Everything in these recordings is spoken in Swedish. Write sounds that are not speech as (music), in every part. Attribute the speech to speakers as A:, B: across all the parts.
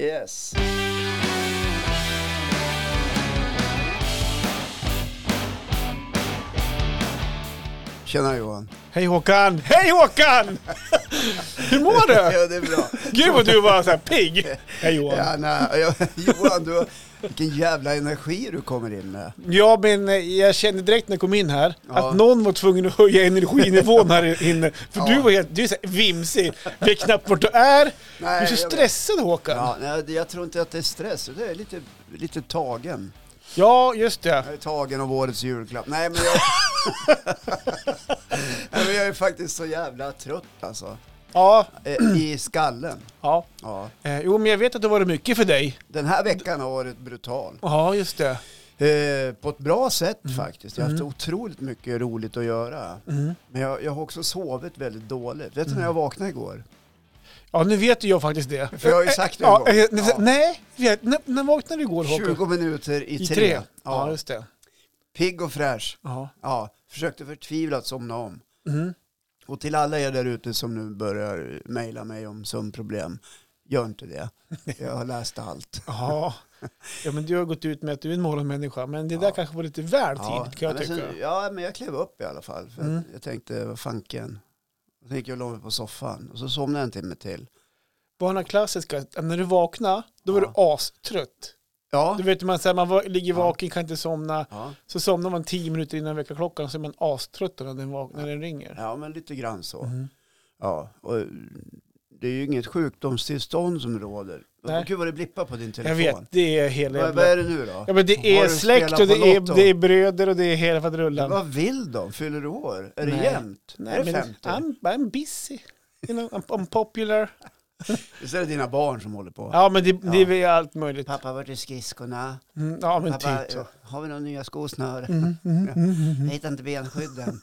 A: Yes.
B: Tjena Johan.
C: Hej Håkan! Hej Håkan! Hur mår du?
B: Ja, det är bra.
C: Gud vad du var så här pigg! Hej Johan!
B: Ja, nej, ja, (laughs) Johan, du, vilken jävla energi du kommer in med.
C: Ja, men eh, jag kände direkt när jag kom in här
B: Ja.
C: att någon var tvungen att höja energinivån här inne. För
B: Ja.
C: du var helt, du är så här vimsig. Vet knappt vart du är. Du är
B: Nej,
C: så
B: jag vet.
C: stressad Håkan. Ja,
B: Ja, nej, det- jag tror inte att det är stress, det är lite, lite tagen.
C: just det.
B: Jag är tagen av årets julklapp. Nej, men jag... (laughs) nej, men jag är faktiskt så jävla trött (clears throat) alltså.
C: Ja,
B: Eh, I skallen.
C: ja.
B: Ja.
C: Eh, Jo, men jag vet att det har varit mycket för dig.
B: Den här veckan har varit brutal.
C: Ja, just det.
B: Eh, på ett bra sätt faktiskt. Jag har haft otroligt mycket roligt att göra.
C: Mm.
B: Men jag, jag har också sovit väldigt dåligt. Vet du när jag vaknade igår?
C: Ja, nu vet ju jag faktiskt det.
B: För jag har ju sagt det en
C: ja,
B: gång.
C: eh, nej,
B: Ja.
C: Nej, vet- när, när vaknade du igår Håkan?
B: 20 minuter i,
C: I
B: tre.
C: tre? Ja,
B: Ja.
C: just det.
B: Pigg och fräsch.
C: Ja.
B: Ja, försökte förtvivlat somna om.
C: Mm.
B: Och till alla er där ute som nu börjar mejla mig om sömnproblem, gör inte det. Jag har läst
C: (laughs)
B: allt.
C: Ja. ja, men du har gått ut med att du är en morgonmänniska, men det där
B: Ja.
C: kanske var lite väl tidigt kan jag
B: men alltså-
C: tycka.
B: sen- ja, men jag klev upp i alla fall. För att
C: Mm.
B: Jag tänkte, vad fanken. Sen gick jag och la mig på soffan och så somnade jag en timme till.
C: Var den här klassiska, att när du vaknar, då var
B: Ja.
C: du astrött.
B: Ja,
C: Du vet, man, så här, man var, ligger
B: Ja.
C: vaken, kan inte somna,
B: ja.
C: så somnar man tio minuter innan väckarklockan, så är man astrött när den, vak- när den ringer.
B: ja men lite grann så.
C: Mm.
B: Ja, och eh, det är ju inget sjukdomstillstånd som råder.
C: Nej.
B: Gud vad det blippar på din
C: Jag
B: telefon.
C: vet, det är hela
B: Vad, vad
C: jävla...
B: är det nu då?
C: Ja, men det
B: Har
C: är
B: du
C: släkt
B: spelat
C: och det
B: på
C: är,
B: Lotto?
C: det är bröder och det är hela faderullan.
B: Vad vill de? Fyller du år? Är
C: Nej.
B: det jämnt? är det 50?
C: I'm, I'm busy. You know, I'm, I'm popular.
B: Visst är det dina barn som håller på?
C: Ja, men det, det är väl allt möjligt.
B: Pappa, vart är skridskorna?
C: Mm, ja, men
B: Pappa, eh,
C: typ så.
B: har vi några nya skosnör?
C: Mm, mm, mm, mm.
B: Jag hittar inte
C: (laughs)
B: benskydden.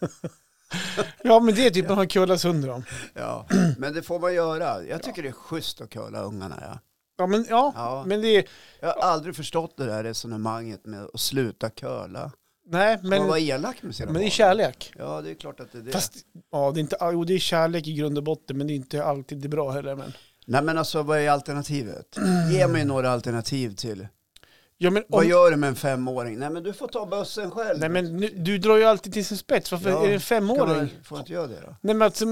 C: Ja, men det är typ man har kullat sönder dem.
B: ja, men det får man göra. Jag tycker det är schysst att curla ungarna. Ja.
C: Ja, men, ja,
B: Ja.
C: men det är...
B: Jag har aldrig förstått det där resonemanget med att sluta curla.
C: Nej,
B: Men, man
C: men,
B: vara elak med sina
C: men det är
B: barn?
C: kärlek.
B: Ja, det är klart att det är det.
C: Fast, ja, det är inte, jo, det är kärlek i grund och botten, men det är inte alltid det bra heller. Men.
B: Nej, men alltså vad är alternativet? Ge
C: (clears throat)
B: mig några alternativ till.
C: Ja, men,
B: Vad
C: om,
B: gör du med en femåring? Nej, men du får ta bussen själv.
C: nej, men nu, du drar ju alltid till sin spets. Varför
B: Ja,
C: är det en
B: Kan
C: femåring?
B: man, får inte göra det då?
C: Nej, men alltså,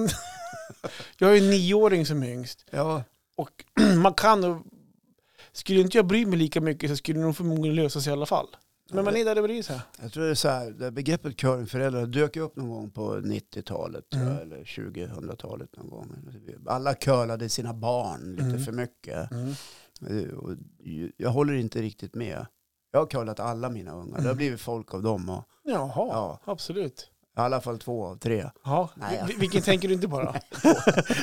B: (laughs)
C: jag har ju en nioåring som är yngst. (clears throat)
B: Ja.
C: Och man kan... nog- Skulle inte jag bry mig lika mycket så skulle det nog förmodligen lösa sig i alla fall. Men man är där det bryr sig.
B: Jag tror det är så här, det här begreppet curlingföräldrar dök ju upp någon gång på 90-talet tror jag,
C: Mm.
B: eller 2000-talet någon gång. Alla curlade sina barn lite
C: Mm.
B: för mycket.
C: Mm.
B: Eh, Och ju- jag håller inte riktigt med. Jag har curlat alla mina ungar. Det har
C: Mm.
B: blivit folk av dem. Och,
C: Jaha,
B: Ja.
C: absolut.
B: I alla fall två av tre.
C: Ja.
B: Nej, ja.
C: vil- Vilken tänker du
B: (laughs)
C: inte bara?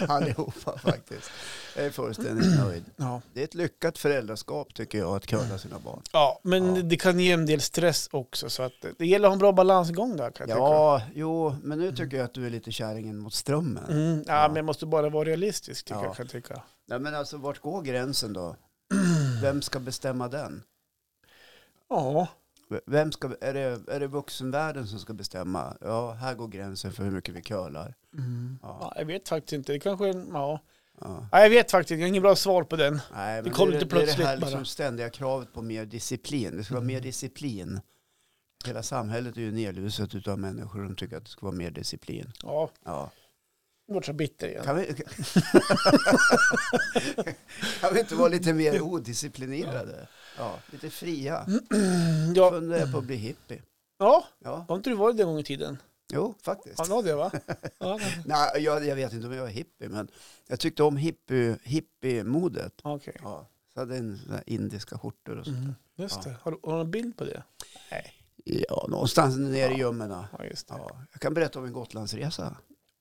B: Allihopa faktiskt. Jag är fullständigt nöjd.
C: Ja.
B: Det är ett lyckat föräldraskap tycker jag att curla sina barn.
C: Ja, men
B: Ja.
C: det kan ge en del stress också. Så att det gäller att ha en bra balansgång där kan jag
B: Ja, jo, men nu tycker jag att du är lite kärringen mot strömmen.
C: tycka. Mm, ja,
B: Ja.
C: men jag måste bara vara realistisk tycker
B: Ja.
C: jag, kan jag
B: (clears throat)
C: tycka.
B: Nej, men alltså vart går gränsen då? Vem ska bestämma den?
C: Ja,
B: V- Vem ska, är, det, är det vuxenvärlden som ska bestämma? Ja, här går gränsen för hur mycket vi curlar. Ja,
C: ja, jag vet faktiskt inte. Det kanske är en, ja.
B: ja.
C: ja, jag vet faktiskt. Jag har inget bra svar på den.
B: Nej, men
C: kom
B: det, är det-
C: lite
B: det är
C: plötsligt
B: det här
C: bara. Mm.
B: liksom ständiga kravet på mer disciplin. Det ska vara mer disciplin. Hela samhället är ju nedluset av människor som tycker att det ska vara mer disciplin.
C: Ja,
B: Ja.
C: jag vart så bitter igen.
B: Kan, vi, (laughs) kan vi inte vara lite mer odisciplinerade? Ja, lite fria.
C: Mm. Ja,
B: Funderar på att bli hippie.
C: ja,
B: Ja,
C: har inte du varit det en gång i tiden?
B: jo, faktiskt.
C: Ja,
B: (laughs)
C: det var det va? Ja,
B: Nej, jag, jag vet inte om jag var hippie, men jag tyckte om hippie, hippie-modet.
C: okej.
B: Ja, så hade jag en sån här indiska skjortor och sånt.
C: Mm, just
B: Ja.
C: det. Har du, har du någon bild på det?
B: Ja, någonstans nere i gömmorna.
C: Ja, just det.
B: Ja, jag kan berätta om en Gotlandsresa.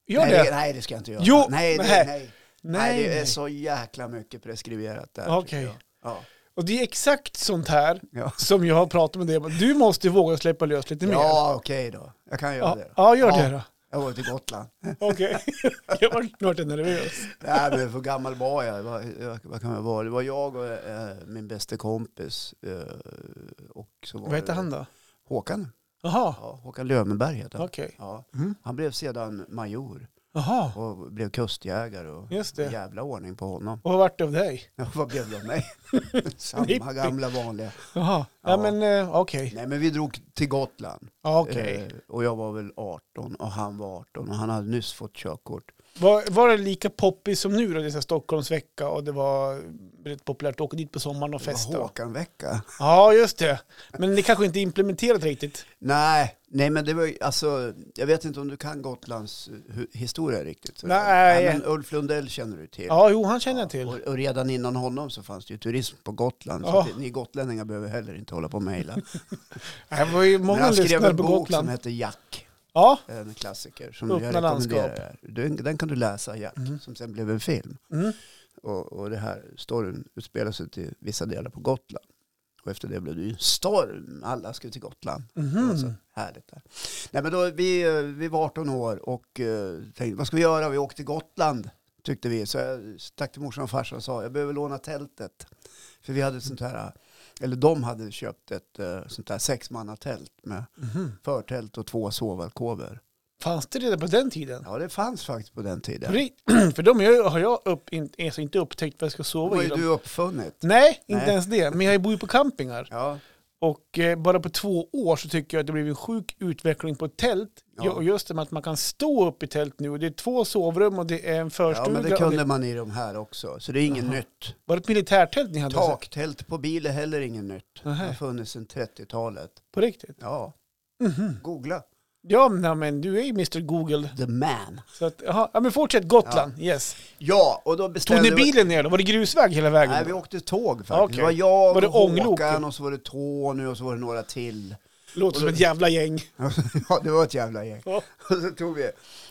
C: Gör
B: nej,
C: det?
B: nej, det ska jag inte göra.
C: Jo,
B: nej, det,
C: nej.
B: nej. nej.
C: Nej,
B: det är
C: nej.
B: så jäkla mycket preskriberat där.
C: Okej.
B: tycker jag. Ja,
C: Och det är exakt sånt här
B: ja.
C: som jag har pratat med dig om. Du måste våga släppa lös lite mer.
B: ja okej då. Jag kan göra
C: Ja,
B: det. Då.
C: ja, gör
B: Ja.
C: det då.
B: Jag var till Gotland.
C: (laughs) Okej. (laughs) jag var snart nervös.
B: nej, men för gammal var jag. Vad, jag- vad kan jag vara? Det var jag och eh, min bästa kompis. Eh, och så var
C: Vad heter
B: det-
C: han då?
B: Håkan.
C: Jaha,
B: Ja, Håkan Lövenberg heter han.
C: okej.
B: Ja.
C: Mm.
B: Han blev sedan major.
C: Jaha,
B: och blev kustjägare och
C: just det.
B: jävla ordning på honom. (laughs)
C: Och vad vart det av dig?
B: Ja, vad blev det av
C: (laughs)
B: mig? Samma
C: Snipping.
B: gamla vanliga.
C: Jaha, ja,
B: Ja.
C: men eh, okej.
B: Nej men vi drog till Gotland.
C: Ja, okej.
B: Eh, och jag var väl 18 och han var 18 och han hade nyss fått körkort.
C: Var, var det lika poppis som nu då, det är så här Stockholmsvecka och det var rätt populärt att åka dit på sommaren och
B: Det var
C: festa?
B: Håkan-vecka.
C: Ja, just det. Men det kanske inte är implementerat riktigt.
B: Nej, nej men det var ju, alltså, jag vet inte om du kan Gotlands eh, hu- historia riktigt. Så-
C: Nej.
B: men Ulf Lundell känner du till.
C: Ja, jo, han känner jag till.
B: Och, och redan innan honom så fanns det ju turism på Gotland. Så
C: Ja.
B: att ni gotlänningar behöver heller inte hålla på och
C: (laughs)
B: mejla.
C: Det var ju
B: Men
C: många
B: han skrev
C: lyssnare
B: en
C: på
B: bok som
C: Gotland.
B: hette Jack,
C: Ja,
B: en klassiker som
C: Öppna
B: jag rekommenderar. Den, den kan du läsa, Jack,
C: Mm.
B: som sen blev en film.
C: mm.
B: Och, och det här storyn utspelar sig till vissa delar på Gotland. Och efter det blev det ju storm. Alla skulle till Gotland. Det var så
C: Mhm.
B: härligt där. Nej, men då, vi, eh, vi var 18 år och eh, tänkte, vad ska vi göra? Vi åkte till Gotland, tyckte vi. Så jag stack till morsan och farsan och sa, jag behöver låna tältet. För vi hade ett sånt här, eller de hade köpt ett eh, sånt här sexmannatält med
C: Mhm.
B: förtält och två sovalkover.
C: Fanns det redan på den tiden?
B: Ja, det fanns faktiskt på den tiden.
C: (clears throat) För- För de har jag- har jag upp, in, alltså inte upptäckt vad jag ska
B: Det
C: sova
B: var
C: i.
B: ju
C: Dem.
B: du uppfunnit.
C: Nej, inte
B: Nej.
C: ens det. Men jag bor ju på campingar.
B: Ja,
C: Och eh, bara på två år så tycker jag att det blev en sjuk utveckling på ett tält.
B: Ja.
C: Ja. Och just det med att man kan stå upp i tält nu. Det är två sovrum och det är en
B: ja,
C: förstuga.
B: men det
C: och
B: kunde man i de här också. Så det är inget
C: Jaha.
B: nytt.
C: Var det ett militärtält ni hade? alltså,
B: Taktält på bil är heller inget nytt. Det har
C: Nej.
B: funnits sedan 30-talet.
C: På riktigt?
B: Ja,
C: Mhm.
B: googla.
C: Ja, nej, men du är ju Mr Google.
B: The man.
C: Så att, jaha. ja, men fortsätt Gotland. Yes.
B: Ja, och då
C: Tog
B: bestämde
C: ni bilen ner då? Var det grusväg hela vägen?
B: Nej, vi
C: då?
B: åkte tåg faktiskt.
C: Okej.
B: Det var jag
C: Var det
B: och Håkan
C: ånglok?
B: och så var det Tony och så var det några till. (laughs)
C: Låter som ett jävla gäng.
B: ja, det var ett jävla gäng.
C: (laughs) Ja.
B: (laughs) Och så tog vi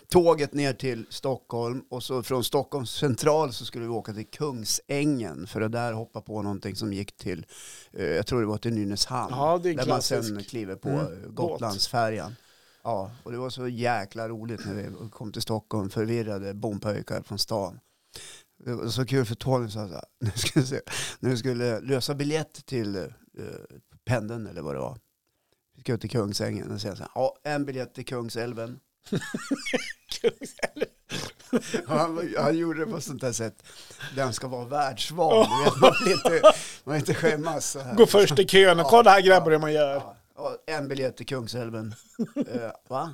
B: tåget ner till Stockholm och så från Stockholms central så skulle vi åka till Kungsängen för att där hoppa på någonting som gick till, eh, jag tror det var till Nynäshamn.
C: Ja, det är
B: där man sen
C: klassisk.
B: kliver på
C: Mm,
B: eh,
C: båt.
B: Gotlandsfärjan. Ja, och det var så jäkla roligt när vi kom till Stockholm, förvirrade bompöjkar från stan. Det var så kul för Tony sa så här, (laughs) när vi skulle, se, när vi skulle lösa biljett till eh, pendeln eller vad det var. Vi ska till Kungsängen och säga så här, ja, en biljett till Kungsälven. Han, han gjorde det på sånt där sätt där han ska vara världsvan. Du vet, Man vill inte, man vill inte skämmas så här.
C: Gå först i kön och kolla här grabbar hur man gör.
B: Ja, ja, en biljett till Kungsälven. Eh, va?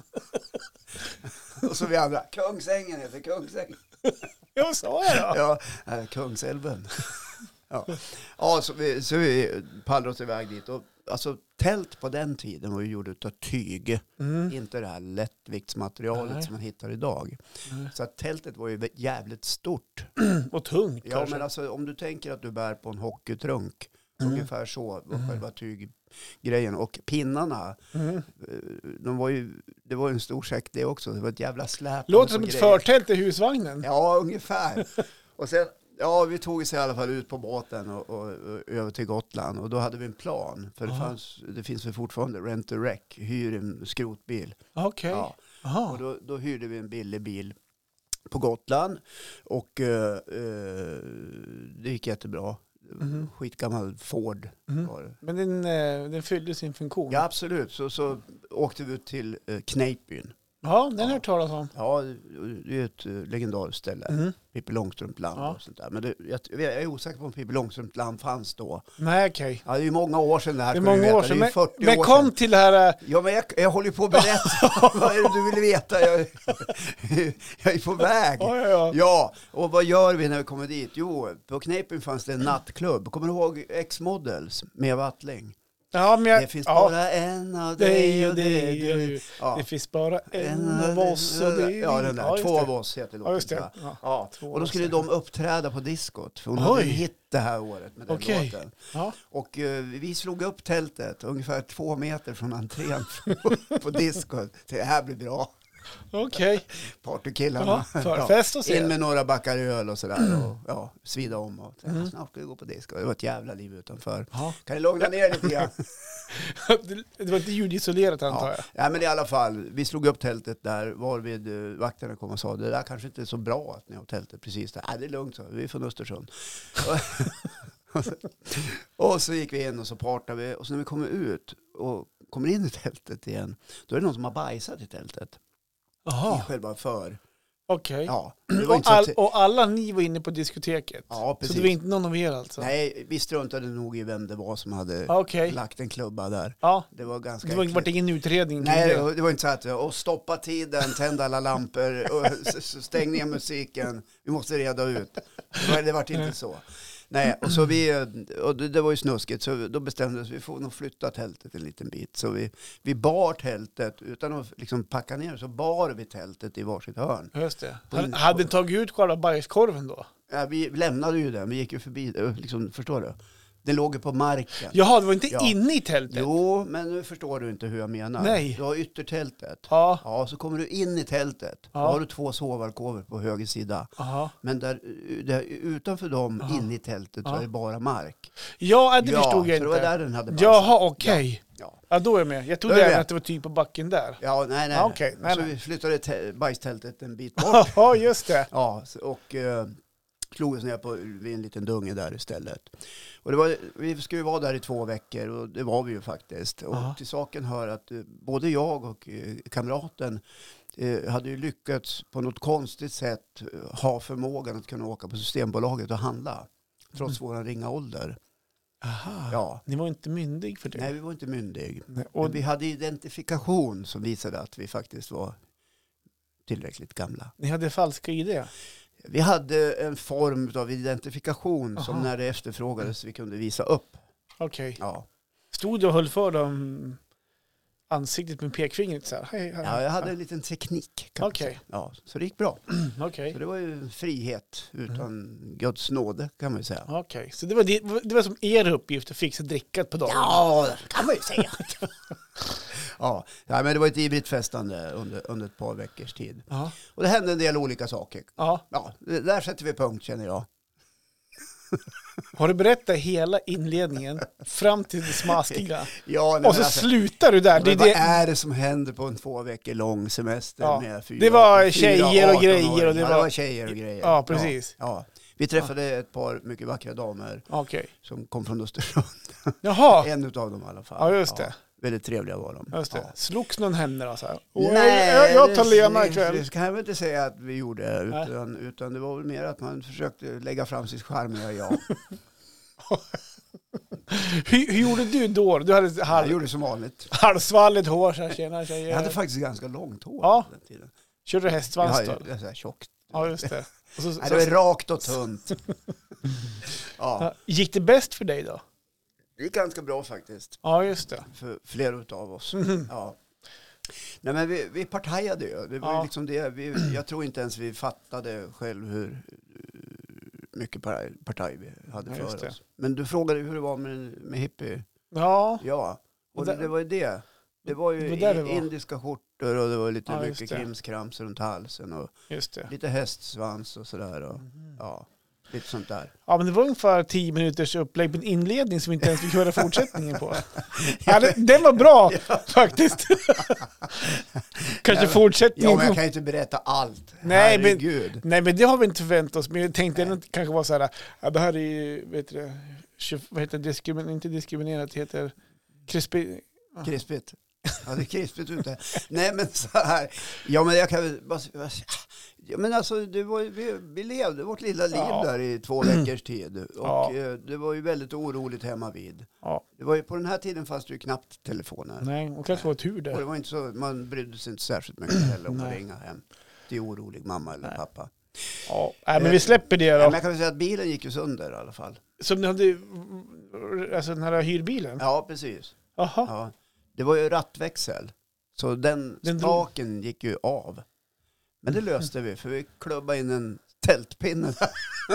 B: Och så vi andra, Kungsängen heter Kungsängen.
C: Jag sa det då.
B: Ja, eh, Kungsälven. (laughs) Ja, ja så, vi, så vi pallrade oss iväg dit. Och, alltså, tält på den tiden var ju gjort av tyg.
C: Mm.
B: Inte det här lättviktsmaterialet
C: Nej.
B: som man hittar idag.
C: Nej.
B: Så att tältet var ju jävligt stort.
C: Och tungt
B: Ja,
C: kanske.
B: men alltså om du tänker att du bär på en hockeytrunk,
C: Mm.
B: ungefär så var själva tyggrejen. Och pinnarna,
C: Mm.
B: eh, de var ju, det var ju en stor säck det också. Det var ett jävla släp.
C: Låter som
B: på
C: ett
B: grejer.
C: förtält i husvagnen.
B: Ja,
C: (laughs)
B: ungefär. och sen, ja, vi tog oss i alla fall ut på båten och, och, och över till Gotland. Och då hade vi en plan, för det,
C: Aha.
B: fanns, det finns väl fortfarande, rent to wreck, hyr en skrotbil.
C: Okej.
B: Ja. Och
C: Jaha.
B: då, då hyrde vi en billig bil på Gotland och eh, eh, det gick jättebra.
C: Mhm.
B: Skitgammal Ford
C: Mm.
B: var det.
C: Men den, eh, den fyllde sin funktion.
B: Ja, absolut. Så, så åkte vi ut till eh, Kneippbyn.
C: Ja, den har
B: Ja.
C: jag hört talas om.
B: Ja, det- det är ett eh, legendariskt ställe.
C: Mm.
B: Pippi Långstrump-land
C: Ja.
B: och sånt där. Men det, jag, jag är osäker på om Pippi Långstrump-land fanns då.
C: Nej, okej.
B: Ja, det är ju många år sedan det här.
C: Det är
B: ska du
C: många
B: veta.
C: år sedan.
B: Det är
C: Men,
B: ju 40
C: men
B: år
C: kom
B: sedan.
C: till det här... eh,
B: Ja, men jag, jag håller ju på att
C: (laughs)
B: berätta. Vad är det du vill veta? Jag, jag är på väg.
C: Ja, ja, ja.
B: Ja, och vad gör vi när vi kommer dit? Jo, på Kneipen fanns det en nattklubb. Kommer du ihåg X-Models med Wattling?
C: ja, men jag,
B: Det finns
C: ja.
B: bara en av dig och dig. och dig. Ja.
C: Det finns bara en
B: En
C: av oss och det är
B: Ja, den
C: vi.
B: där.
C: just
B: Två
C: det.
B: av oss heter
C: Ja, just
B: låten.
C: det.
B: va?
C: Ja.
B: Ja,
C: Två
B: och då
C: av
B: skulle
C: oss.
B: de uppträda på diskot. För hon hade
C: Oj.
B: en hit det här året med den
C: Okej.
B: låten.
C: Ja.
B: Och eh, vi slog upp tältet ungefär två meter från entrén (laughs) på diskot. Det här blir bra.
C: Okej.
B: Partykillarna.
C: Ja, Förfest och
B: In
C: sen.
B: med några backar öl och sådär och ja, svida om och så,
C: Mm.
B: snart ska vi gå på disco. Det var ett jävla liv utanför.
C: Ja.
B: Kan ni lugna ner er lite grann?
C: Det- (laughs) Det var inte ljudisolerat antar
B: ja.
C: jag.
B: ja, men i alla fall, vi slog upp tältet där varvid eh, vakterna kom och sa det där kanske inte är så bra att ni har tältet precis där. Nej, det är lugnt, så. vi är från Östersund. (laughs) och, så, och så gick vi in och så partade vi och så när vi kommer ut och kommer in i tältet igen, då är det någon som har bajsat i tältet. I
C: Jaha.
B: själva för
C: Ah. Okej. Mm,
B: Ja, det var
C: Och,
B: inte så
C: all,
B: att,
C: och alla ni var inne på diskoteket?
B: ja
C: så
B: precis.
C: det var inte någon av er alltså?
B: Nej, vi struntade nog i vem det var som hade
C: Ja, Okej.
B: lagt en klubba där.
C: Ja,
B: Det var ganska
C: det var, vart
B: äckligt.
C: ingen utredning kring
B: Nej, det
C: det?
B: var- det var inte så att och stoppa tiden, tända alla lampor, och s- s- stäng ner musiken, vi måste reda ut. Det var- Det vart inte så. Nej, och så vi, eh, och det, det var ju snuskigt, så då bestämde vi oss, vi får nog flytta tältet en liten bit. Så vi, vi bar tältet, utan att liksom packa ner så bar vi tältet i varsitt hörn.
C: Just det.
B: På
C: Hade-
B: innergården.
C: Hade ni tagit ut själva bajskorven då?
B: Ja, vi lämnade ju den, vi gick ju förbi det, liksom, förstår du? Den låg ju på marken.
C: Jaha, det var inte
B: Ja.
C: inne i tältet?
B: Jo, men nu förstår du inte hur jag menar.
C: Nej.
B: Du har yttertältet.
C: Ja.
B: Ja, så kommer du in i tältet. Då
C: Ja.
B: har du två sovalkover på höger sida.
C: Aha.
B: Men där, där, utanför dem,
C: Ja.
B: in i tältet, så
C: Ja.
B: är det bara mark.
C: Ja, äh, det förstod
B: ja,
C: jag
B: så det var
C: inte.
B: där den hade bajsat.
C: Jaha, okej.
B: Ja.
C: Ja, då är jag med. Jag trodde
B: Då är du
C: även
B: med.
C: att det var typ på backen där.
B: Ja, nej, nej.
C: Ja, okej. Nej,
B: så
C: nej.
B: vi flyttade te- bajstältet en
C: (laughs)
B: bit bort.
C: Ja, just det.
B: ja, så- och eh, slog oss ner på, vid en liten dunge där istället. Och det var, vi skulle ju vara där i två veckor och det var vi ju faktiskt. Och
C: Ja.
B: till saken hör att eh, både jag och eh, kamraten eh, hade ju lyckats på något konstigt sätt eh, ha förmågan att kunna åka på Systembolaget och handla. Trots vår ringa ålder.
C: Aha.
B: Ja.
C: Ni var inte myndig för det?
B: Nej, vi var inte myndig.
C: Nej, Och,
B: Men vi hade identifikation som visade att vi faktiskt var tillräckligt gamla.
C: Ni hade falska ID?
B: Vi hade en form av identifikation som
C: Aha.
B: när det efterfrågades vi kunde visa upp.
C: Okej.
B: Ja.
C: Stod du och höll för dem ansiktet med pekfingret så här? Hej, hej.
B: Ja, jag hade en liten teknik. kan man
C: Okej.
B: säga. Ja, så det gick bra.
C: Mm, Okej. Mm.
B: Så det var ju frihet utan Guds nåde kan man ju säga.
C: Okej, så det var, det, det var som er uppgift att fixa drickat på dagen?
B: Ja, det kan man ju säga. (laughs) ja, nej, men det var ett ivrigt festande under, under ett par veckors tid.
C: Ja.
B: Och det hände en del olika saker.
C: ja.
B: Ja, det- där sätter vi punkt känner jag.
C: Har du berättat hela inledningen fram till det smaskiga?
B: Ja, (laughs) nej,
C: Och så
B: men alltså,
C: slutar du där. Det,
B: men vad
C: det,
B: är det som händer på en två veckor lång semester
C: Ja,
B: med fyra
C: det var
B: fyra
C: tjejer
B: 18-åringar?
C: och grejer och det
B: ja, det
C: var-
B: var tjejer och grejer.
C: ja, precis.
B: Ja, ja. Vi träffade ett par mycket vackra damer
C: Okej.
B: som kom från Östersund.
C: (laughs) Jaha,
B: En utav dem i alla fall.
C: Ja, just det.
B: Väldigt trevliga var de.
C: just det.
B: Ja.
C: Slogs någon henne då? Så här. "Åh, jag, jag tar
B: det-
C: Lena
B: det-
C: ikväll.
B: Det kan jag väl inte säga att vi gjorde,
C: Nej.
B: utan, utan det var väl mer att man försökte lägga fram sitt charmiga
C: (laughs)
B: jag.
C: Hur, hur gjorde du då? Du hade
B: Jag
C: halv,
B: gjorde som vanligt.
C: halvsvalligt hår så här, tjena
B: Jag hade
C: tjejer.
B: faktiskt ganska långt hår
C: Eh. Ja.
B: på den tiden.
C: Körde du
B: Jag
C: hästsvans
B: har ju
C: då?
B: det är så här tjockt.
C: Ja, just det. Och så,
B: Nej, det
C: så,
B: var rakt och
C: (laughs)
B: tunt. ja,
C: Ja, Gick det bäst för dig då?
B: det gick ganska bra faktiskt.
C: Ja, just det.
B: för flera utav oss. Ja. Nej, men vi, vi partajade ju. Det var
C: Ja.
B: ju liksom det. Vi, jag tror inte ens vi fattade själv hur eh, mycket partaj, partaj vi hade
C: Ja,
B: för
C: just det.
B: oss. Men du frågade ju hur det var med, med hippie.
C: Ja,
B: Ja, och
C: Där-
B: det, det var ju det. Det var ju
C: Det var där det
B: i-
C: var.
B: indiska skjortor och det var lite
C: Ja, just
B: mycket
C: det.
B: krimskrams runt halsen och
C: just det.
B: lite hästsvans och sådär. Och,
C: Mhm.
B: ja, lite sånt där.
C: Ja, men det var ungefär tio minuters upplägg på en inledning som vi inte ens fick höra
B: (laughs)
C: fortsättningen på. Ja, det, den var bra faktiskt. Kanske
B: Ja, Ja,
C: fortsättningen.
B: men jag kan ju inte berätta allt.
C: Nej, men-
B: Herregud.
C: Nej, men det har vi inte förväntat oss. Men jag tänkte ändå att det kanske var så här, ja, det här är ju, vet du, det, tju- vad heter det, Diskrimi- inte diskriminerat, det heter krispi...
B: Krispigt. Ja, det är krispigt ute. Nej, men så här. Ja, men jag kan väl bara... Ja, men alltså, det var, ju- vi, vi levde vårt lilla liv
C: Ja.
B: där i två veckors tid. Och
C: Ja.
B: eh, det var ju väldigt oroligt hemma vid.
C: Ja,
B: Det var ju, på den här tiden fanns det ju knappt telefoner.
C: nej, och kanske var tur
B: Och det
C: där.
B: var inte så, man brydde sig inte särskilt mycket heller om att
C: Nej.
B: ringa hem till orolig mamma eller
C: Nej.
B: pappa.
C: Ja, nej, men vi släpper det
B: Ja. Men
C: då.
B: jag kan väl säga att bilen gick ju sönder i alla fall.
C: Som ni hade, alltså den här hyrbilen?
B: Ja, precis.
C: Jaha,
B: Ja. Det var ju rattväxel. Så den,
C: Den drog-
B: spaken gick ju av. Men det löste vi för vi klubbade in en tältpinne.
C: (laughs)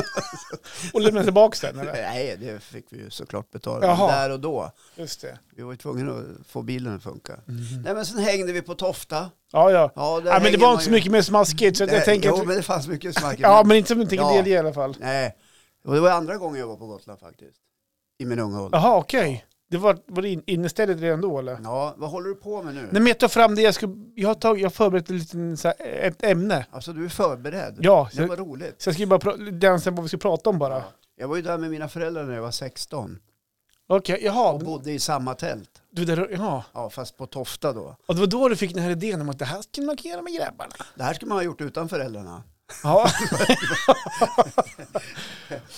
C: och lämna tillbaka
B: (laughs)
C: den eller?
B: Nej, det fick vi ju såklart betala.
C: Jaha.
B: Där och då.
C: Just det.
B: Vi var ju tvungna att få bilen att funka. Nej men sen hängde vi på Tofta.
C: Ja, ja.
B: Ja, där
C: Mhm. Ja, men det
B: hänger
C: var
B: man
C: inte så
B: ju-
C: mycket mer smaskigt, så att jag
B: Nej,
C: tänker
B: jo,
C: att...
B: men det fanns mycket smack.
C: Ja, men inte som en tänker
B: Ja.
C: del i alla fall.
B: Nej, och det var andra gången jag var på Gotland faktiskt. I min unga ålder.
C: Jaha, okej. Det var, var det in- innestället redan då, eller?
B: Ja, vad håller du på med nu?
C: Nej, men jag tar fram det jag ska... Jag har, tag, jag har förberett en liten, så här, ett ämne.
B: Alltså du är förberedd.
C: Ja,
B: Det
C: så,
B: var roligt.
C: så jag ska bara pra- dansa på vad vi ska prata om bara.
B: Jag var ju där med mina föräldrar när jag var 16.
C: Okej, jaha.
B: Och bodde i samma tält.
C: Du, där, ja.
B: Ja, fast på Tofta då.
C: Och det var då du fick den här idén om att det här ska man kunna göra med grabbarna.
B: Det här skulle man ha gjort utan föräldrarna. (laughs)
C: Ja.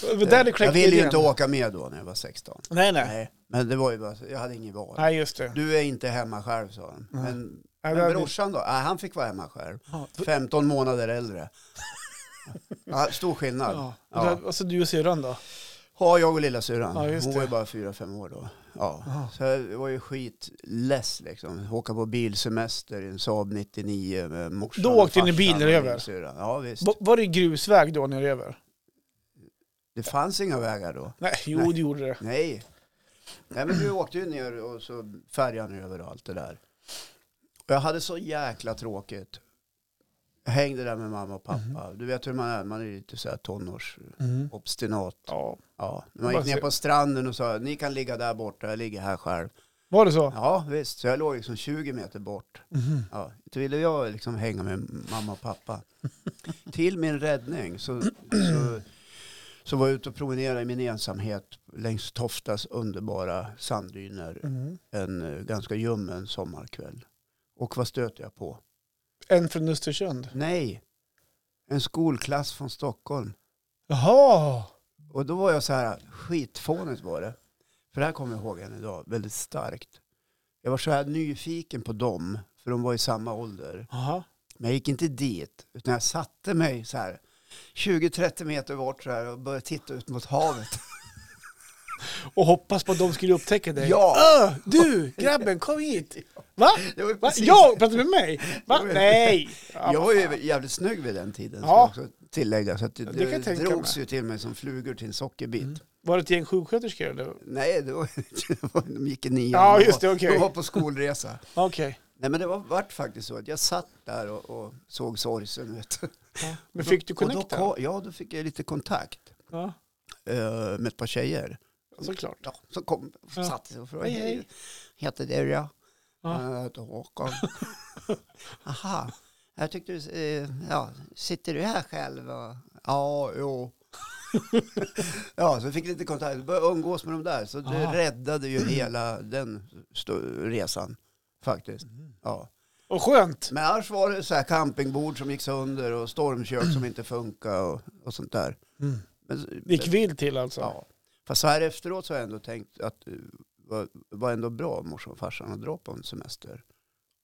C: det var där du
B: Jag
C: kläckte
B: ville ju
C: idén.
B: inte åka med då när jag var 16.
C: Nej, nej.
B: Nej, men det var ju bara, så- jag hade inget val.
C: Nej, just det.
B: Du är inte hemma själv sa de.
C: Nej.
B: Men,
C: Ja,
B: men
C: det-
B: brorsan då? Nej, han fick vara hemma själv.
C: Ja,
B: 15 månader
C: (laughs)
B: äldre. Ja, stor skillnad.
C: Ja.
B: Ja.
C: Och där- Och så du och syrran då?
B: Ja, jag och lilla syrran.
C: Ja, just
B: Hon
C: det.
B: var ju bara fyra fem år då. Ja.
C: Ja.
B: Så jag var ju skitless liksom. Åka på bilsemester i en Saab 99 med morsan
C: Då
B: och
C: åkte ni
B: farsan
C: bil
B: och
C: där över?
B: min syrra. Ja, visst.
C: Va- Var det grusväg då när du är över?
B: Det fanns inga vägar då.
C: Nej, jo
B: Nej.
C: det gjorde det.
B: Nej. Nej, men vi åkte ju ner och så färjan över och allt det där. Och jag hade så jäkla tråkigt. Jag hängde där med mamma och pappa. Du vet hur man är, man är lite så här tonårsobstinat.
C: Ja.
B: Ja. Man
C: Bara
B: gick ner
C: se-
B: på stranden och sa, ni kan ligga där borta, jag ligger här själv.
C: Var det så?
B: Ja, Mm-hmm. visst. Så jag låg liksom 20 meter bort.
C: Mhm.
B: Ja, inte ville jag liksom hänga med mamma och pappa. Till min räddning så, så, så var jag ute och promenerade i min ensamhet längs Toftas underbara sanddyner
C: Mhm.
B: en eh, ganska ljummen sommarkväll. Och vad stöter jag på?
C: En från Östersund.
B: Nej, en skolklass från Stockholm.
C: Jaha!
B: Och då var jag så här, skitfånigt var det. För det här kommer jag ihåg än idag, väldigt starkt. Jag var så här nyfiken på dem, för de var i samma ålder.
C: Aha.
B: Men jag gick inte dit, utan jag satte mig så här 20-30 meter bort så här och började titta ut mot
C: (laughs)
B: havet.
C: Och hoppas på att de skulle upptäcka dig.
B: Ja.
C: Öh, du, grabben, kom hit! Va?
B: Det var ju
C: Va?
B: precis-
C: Jag? Pratar du med mig? Va?
B: Jo, men-
C: Nej!
B: (laughs)
C: Ja,
B: Jag
C: vad
B: var
C: fan.
B: ju jävligt snygg vid den tiden, ska
C: Ja.
B: jag också tillägga. Så att det,
C: det kan
B: det,
C: jag tänka
B: drogs
C: mig. Mm.
B: ju till mig som flugor till en sockerbit.
C: Var det ett gäng sjuksköterskor eller?
B: Nej, det var, (laughs) det var, de gick i nian.
C: Ja,
B: De
C: just det,
B: var-
C: okej.
B: De var på skolresa.
C: Okej.
B: Nej, men det var, vart faktiskt så att jag satt där och, och såg sorgsen. Vet. du.
C: Ja. Men fick du
B: Och då
C: connecta?
B: kom- Ja, då fick jag lite kontakt
C: Ja,
B: eh, med ett par tjejer.
C: såklart.
B: Ja, som kom och
C: Ja.
B: satte sig och frågade.
C: Hej, hej.
B: Heter du ja?
C: Ja.
B: Ja. Jag heter Håkan.
C: (laughs)
B: Aha, jag tyckte du, eh, ja, sitter du här själv? Och... Ja, jo. (laughs) ja, så jag fick lite kontakt, Jag började umgås med dem där. Så det
C: Aha.
B: räddade ju hela den sto- resan faktiskt. Ja.
C: Och skönt!
B: Men annars var det så här campingbord som gick sönder och stormkök som inte funkade och, och sånt där.
C: Mm.
B: Men,
C: Det gick vilt till alltså.
B: Ja. Fast så här efteråt så har jag ändå tänkt att det var, var ändå bra av morsan och farsan att dra på en semester.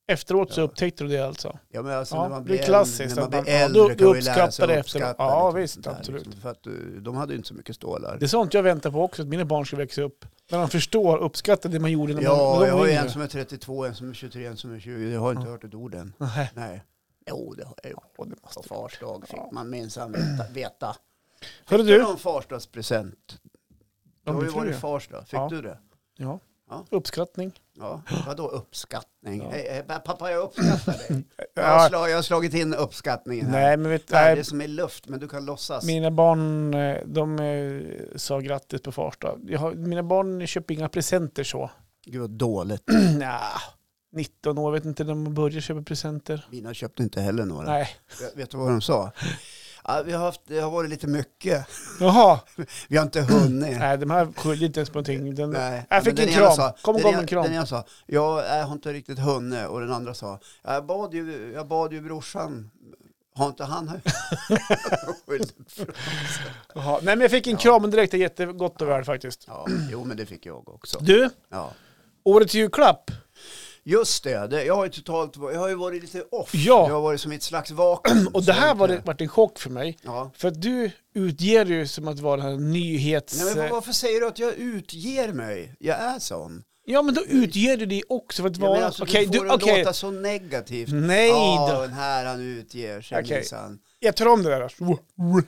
C: Efteråt så
B: Ja.
C: upptäckte du det alltså?
B: Ja men alltså
C: Ja,
B: när man
C: det
B: blir
C: är klassiskt
B: äldre, när
C: att
B: man
C: man-
B: blir
C: ja,
B: äldre
C: då-
B: kan
C: då
B: man ju lära sig
C: uppskattar
B: att
C: det
B: uppskatta.
C: efteråt. Ja,
B: lite
C: visst,
B: sånt där,
C: absolut.
B: Liksom, för att eh, de hade ju inte så mycket stålar.
C: Det är sånt jag väntar på också, att mina barn ska växa upp. När de förstår och uppskattar det man gjorde när man, när
B: ja,
C: de
B: jag har ju
C: yngre.
B: en som är 32, en som är 23, en som är 20. Jag har inte
C: Ja.
B: hört ett ord än.
C: Nej.
B: Nej. Jo, det har jag gjort.
C: Ja, det
B: På
C: måste jag.
B: fars dag
C: Ja.
B: fick man minsann veta. veta.
C: Hörru
B: Fick du
C: du,
B: någon farsdagspresent? Det
C: Ja,
B: har
C: det
B: ju
C: tror
B: varit
C: jag.
B: fars dag. Fick
C: Ja.
B: du det?
C: ja.
B: Ja.
C: uppskattning.
B: Ja. Vadå uppskattning?
C: Ja.
B: Hej, hej, pappa, jag uppskattar
C: (clears throat)
B: dig. Jag har,
C: Ja,
B: slag, jag har slagit in uppskattningen här.
C: nej, men vet,
B: Det här är
C: nej,
B: som i luft, men du kan låtsas.
C: mina barn eh, de eh, sa grattis på fars dag. Jag har- Mina barn köper inga presenter så. (clears throat)
B: Gud vad dåligt.
C: Nja, 19 år vet inte när man börjar köpa presenter.
B: Mina köpte inte heller några.
C: Nej.
B: Vet- Vet du vad de sa? Ja, vi har haft, det har varit lite mycket.
C: Jaha,
B: Vi har inte hunnit.
C: nej, de här skyller inte ens på någonting. Den,
B: Nej.
C: Jag
B: Men
C: fick
B: den
C: en
B: ena
C: kram.
B: sa-
C: Kom och
B: den
C: gav
B: ena-
C: mig en kram.
B: Den ena sa, jag, jag har inte riktigt hunnit. Och den andra sa, jag bad ju, jag bad ju brorsan. Har inte han? (laughs)
C: Jaha. Nej, men jag fick en kram direkt, det är jättegott och väl faktiskt.
B: ja, jo, men det fick jag också.
C: Du,
B: Ja.
C: årets julklapp.
B: Just det, det jag, har ju totalt, jag har ju varit lite off.
C: Ja.
B: Jag har varit som i ett slags vakuum. (clears throat)
C: Och det
B: Så
C: här
B: inte-
C: var det, vart en chock för mig.
B: Ja.
C: För att du utger dig ju som att vara den här nyhets...
B: Nej, men varför säger du att jag utger mig? Jag är sån.
C: Ja, men då utger du dig också för att
B: Jag menar
C: vara...
B: alltså,
C: Okej,
B: du får
C: du,
B: det
C: okej.
B: låta så negativt.
C: Nej
B: Ja,
C: då.
B: den här han utger sig
C: Okej.
B: minsann.
C: Jag tar om det där. Snipp,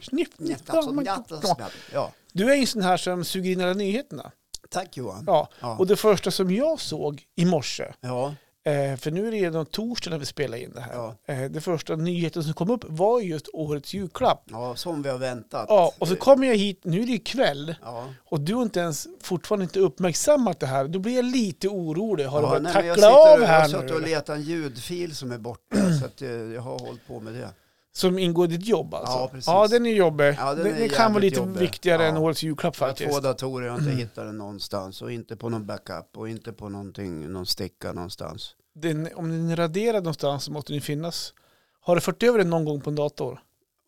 C: snipp,
B: Jättas-
C: snipp.
B: jättasnabb. Ja,
C: Du är ju en sån här som suger in alla nyheterna.
B: tack Johan.
C: Ja.
B: Ja.
C: Och det första som jag såg i morse,
B: Ja,
C: eh, för nu är det redan torsdag när vi spelar in det här.
B: Ja.
C: Eh, det första nyheten som kom upp var just årets julklapp.
B: ja som vi har väntat. Eh,
C: Ja, och så kommer jag hit, nu är det ju kväll,
B: Ja.
C: och du har inte ens fortfarande inte uppmärksammat det här. Då blir jag lite orolig. Har
B: Ja,
C: du
B: nej,
C: börjat
B: men jag
C: tackla
B: sitter
C: av
B: och- Jag har
C: här
B: suttit
C: nu?
B: och (clears throat)
C: eller?
B: letat en ljudfil som är borta så att eh, jag har hållit på med det.
C: Som ingår i ditt jobb alltså?
B: Ja, precis.
C: ja den är jobbig.
B: Ja, den
C: den
B: är
C: den kan vara
B: jävligt
C: lite
B: jobbig.
C: viktigare
B: Ja.
C: än årets julklapp
B: Jag har två
C: faktiskt. Mm.
B: datorer, jag har inte hittat den någonstans. Och inte på någon backup och inte på någonting, någon sticka någonstans.
C: Den, om den är raderad någonstans så måste den ju finnas. Har du fört över den någon gång på en dator?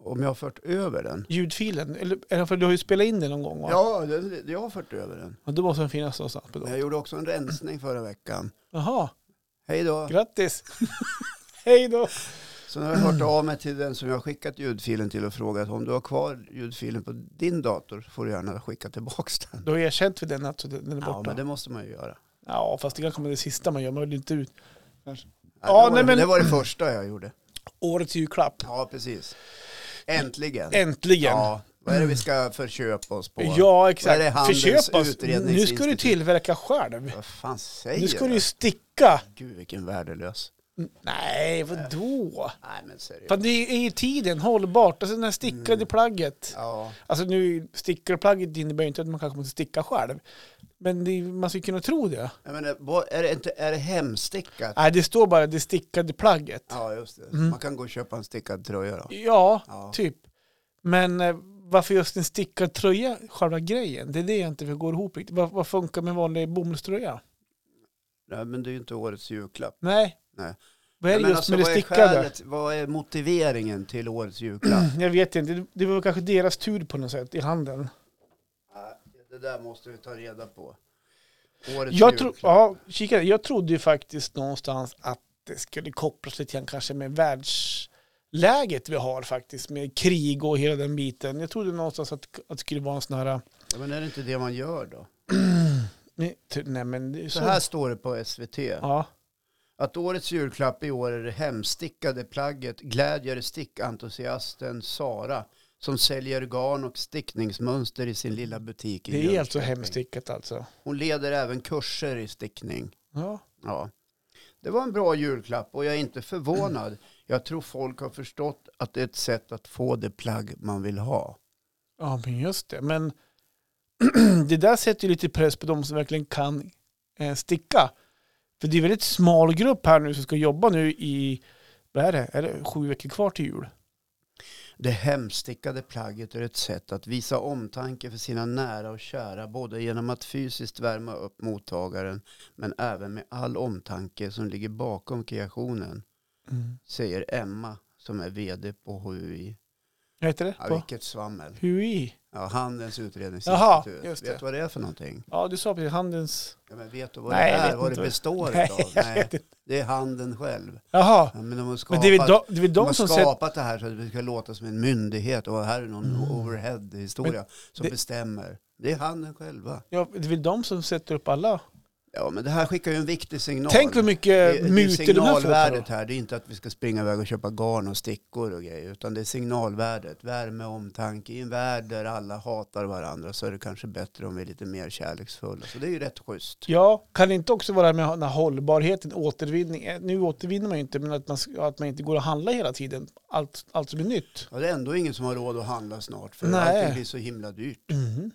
B: Om jag har fört över den?
C: Ljudfilen? Eller, eller för du har ju spelat in den någon gång va?
B: Ja, det- jag har fört över den.
C: Och då måste den finnas någonstans på
B: Men
C: datorn.
B: jag gjorde också en rensning förra veckan.
C: Jaha,
B: Hej då.
C: grattis! (laughs) Hej då!
B: Så nu har jag hört av mig till den som jag har skickat ljudfilen till och frågat om du har kvar ljudfilen på din dator får du gärna skicka tillbaka den.
C: Då har jag erkänt för den att den är borta.
B: Ja, men det måste man ju göra.
C: Ja, fast det kan komma det sista man gör. Man vill ju inte ut.
B: Ja,
C: Ja,
B: det, var,
C: nej, men-
B: det var det första jag gjorde.
C: Årets julklapp.
B: Ja, precis. Äntligen.
C: Äntligen. Ja,
B: Ja, vad är det vi ska förköpa oss på? Vad är det?
C: exakt.
B: Handels
C: Förköp oss. Nu ska du
B: utredningsinstitut.
C: tillverka själv.
B: Vad fan säger
C: Nu ska du
B: jag?
C: ju sticka.
B: Gud, vilken värdelös.
C: Nej, vadå?
B: Nej, men seriöst.
C: För det är ju tiden hållbart. Alltså den här stickade plagget.
B: Mm. Ja,
C: Alltså nu, stickade plagget innebär ju inte att man kanske måste sticka själv. Men det, är- man ska ju kunna tro det.
B: jag menar, vad- är det, inte, är det hemstickat?
C: Nej, det står bara det stickade plagget.
B: Ja, just det.
C: Mm.
B: Man kan gå och köpa en stickad tröja då.
C: Ja,
B: Ja.
C: typ. Men eh, varför just en stickad tröja, själva grejen? Det är det jag inte går ihop riktigt. Vad, vad funkar med en vanlig bomullströja?
B: Nej, men det är ju inte årets julklapp.
C: Nej.
B: Nej.
C: Vad är
B: Nej,
C: det
B: men
C: just
B: alltså,
C: med det
B: vad är
C: stickade?
B: skälet- Vad är motiveringen till årets julklapp?
C: Jag vet inte. Det, det var kanske deras tur på något sätt i handen.
B: Nej, det där måste vi ta reda på. Årets
C: Jag, tro,
B: julklapp.
C: ja, kika, jag trodde ju faktiskt någonstans att det skulle kopplas lite grann kanske med världsläget vi har faktiskt med krig och hela den biten. Jag trodde någonstans att, att det skulle vara en sån här...
B: Ja, Men är det inte det man gör då?
C: Nej, ty- nej men det är
B: Så här står det på SVT.
C: Ja.
B: Att årets julklapp i år är det hemstickade plagget glädjer stickentusiasten Sara som säljer garn och stickningsmönster i sin lilla butik i
C: Det är alltså
B: Jönköping.
C: hemstickat alltså.
B: Hon leder även kurser i stickning.
C: Ja.
B: Ja. Det var en bra julklapp och jag är inte förvånad. Jag tror folk har förstått att det är ett sätt att få det plagg man vill ha.
C: Ja, men just det. Men (clears throat) det där sätter ju lite press på de som verkligen kan eh, sticka. För det är en väldigt smal grupp här nu som ska jobba nu i, vad är det, är det sju veckor kvar till jul?
B: Det hemstickade plagget är ett sätt att visa omtanke för sina nära och kära, både genom att fysiskt värma upp mottagaren, men även med all omtanke som ligger bakom kreationen,
C: Mm.
B: säger Emma som är vd på HUI.
C: Vad heter det?
B: Ja,
C: På?
B: vilket svammel.
C: Hui.
B: Ja, Handels
C: Jaha,
B: utredningsinstitut.
C: just det.
B: vet du vad det är för någonting?
C: Ja, du sa precis handens...
B: Ja, men vet du vad det
C: Nej, jag
B: är?
C: vet
B: Vad
C: inte
B: det
C: vad-
B: består av?
C: jag
B: Nej,
C: vet inte.
B: det är handen själv.
C: Jaha,
B: Ja, men de har
C: men
B: skapat,
C: det är väl de, det är väl
B: de
C: de
B: har
C: som sätter...
B: skapat det här så att det ska låta som en myndighet och här är någon overhead-historia som
C: Mm. det-
B: bestämmer. Det är handen själva.
C: Ja, det är väl de som sätter upp alla.
B: Ja, men det här skickar ju en viktig signal.
C: Tänk hur
B: det,
C: mycket
B: det är
C: mutor de här får.
B: signalvärdet här, det är inte att vi ska springa iväg och köpa garn och stickor och grejer, utan det är signalvärdet, värme och omtanke. I en värld där alla hatar varandra så är det kanske bättre om vi är lite mer kärleksfulla. Så det är ju rätt schysst.
C: Ja, kan det inte också vara med den här hållbarheten, återvinning? Eh, Nu återvinner man ju inte, men att man, ska- att man inte går och handlar hela tiden. Allt, allt som är nytt.
B: Ja, det är ändå ingen som har råd att handla snart, för
C: Nej.
B: allting blir så himla dyrt.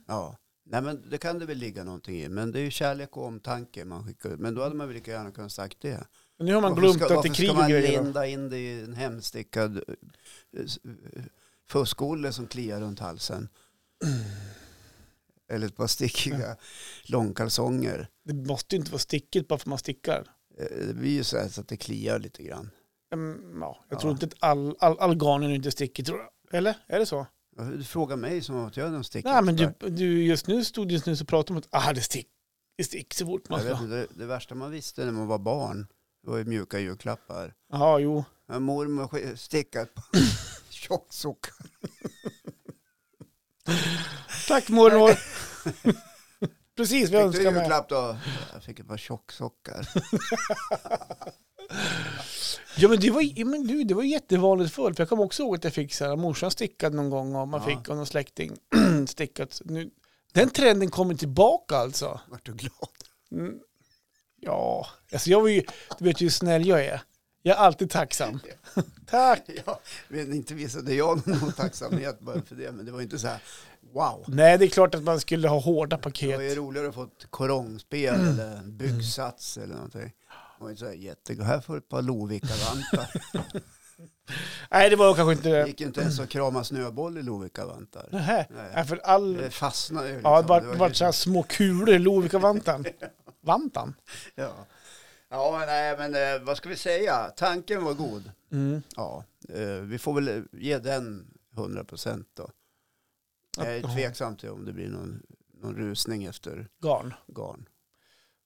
B: Ja. Nej men det kan det väl ligga någonting i. Men det är ju kärlek och omtanke man skickar ut. Men då hade man väl lika gärna kunnat sagt det.
C: Men nu har man
B: varför
C: glömt
B: ska,
C: att det
B: varför
C: är krig
B: ska
C: och
B: man
C: grejer. då.
B: linda in det i en hemstickad eh, s- eh, fuskolle som kliar runt halsen? (clears throat) Eller ett par
C: (laughs)
B: stickiga långkalsonger.
C: Det måste ju inte vara stickigt bara för att man stickar.
B: Eh, Det blir ju så, här så att det kliar lite grann.
C: Mm, ja, jag
B: Ja.
C: tror inte att all, all, all garn är inte stickigt, tror jag. Eller? Är det så?
B: Varför- Du frågar mig som om att jag är någon stickexpert.
C: Nej, men du, du, just nu stod du just nu och pratade om att ah, det stick, det stick så fort man
B: Jag vet
C: ska.
B: inte, det, det värsta man visste när man var barn det var ju mjuka julklappar.
C: Ja, jo.
B: Men mormor sk- stickat
C: (laughs)
B: på tjocksockar. (laughs)
C: Tack mormor! Precis, vi
B: Fick du
C: önskar med.
B: julklapp då? Jag fick ett par tjocksockar. (laughs)
C: Ja men det var, ja, men du, det var jättevanligt förr. För jag kommer också ihåg att jag fick så här, morsan stickad någon gång och man
B: Ja.
C: fick av någon släkting (clears throat) stickat. Nu, den trenden kommer tillbaka alltså.
B: Vart du glad? (laughs)
C: Mm. Ja, alltså jag var ju, du vet ju hur snäll jag är. Jag är alltid tacksam. (laughs) Tack!
B: Ja, men inte visade jag någon (laughs) tacksamhet bara för det. Men det var inte så här, wow.
C: Nej, det är klart att man skulle ha hårda
B: Det var ju
C: paket.
B: roligare att få ett korongspel
C: Mm.
B: eller en
C: (laughs)
B: byggsats eller någonting. Det var inte så här jättegott. Här får du ett par Lovikka-vantar.
C: Nej, det var kanske inte...
B: Det gick ju inte ens att krama snöboll i Lovikkavantar.
C: Nähä.
B: Nej.
C: Nej, för all...
B: Det fastnade ju.
C: Ja, typ,
B: liksom.
C: det var,
B: var ju-
C: var så här små kulor i Lovikkavantan. Vantan?
B: Ja. ja, nej, men eh, vad ska vi säga? Tanken var god.
C: Mm.
B: Ja, eh, vi får väl ge den 100 procent då. Jag
C: Ja.
B: är tveksam till om det blir någon, någon rusning efter
C: Garn.
B: garn.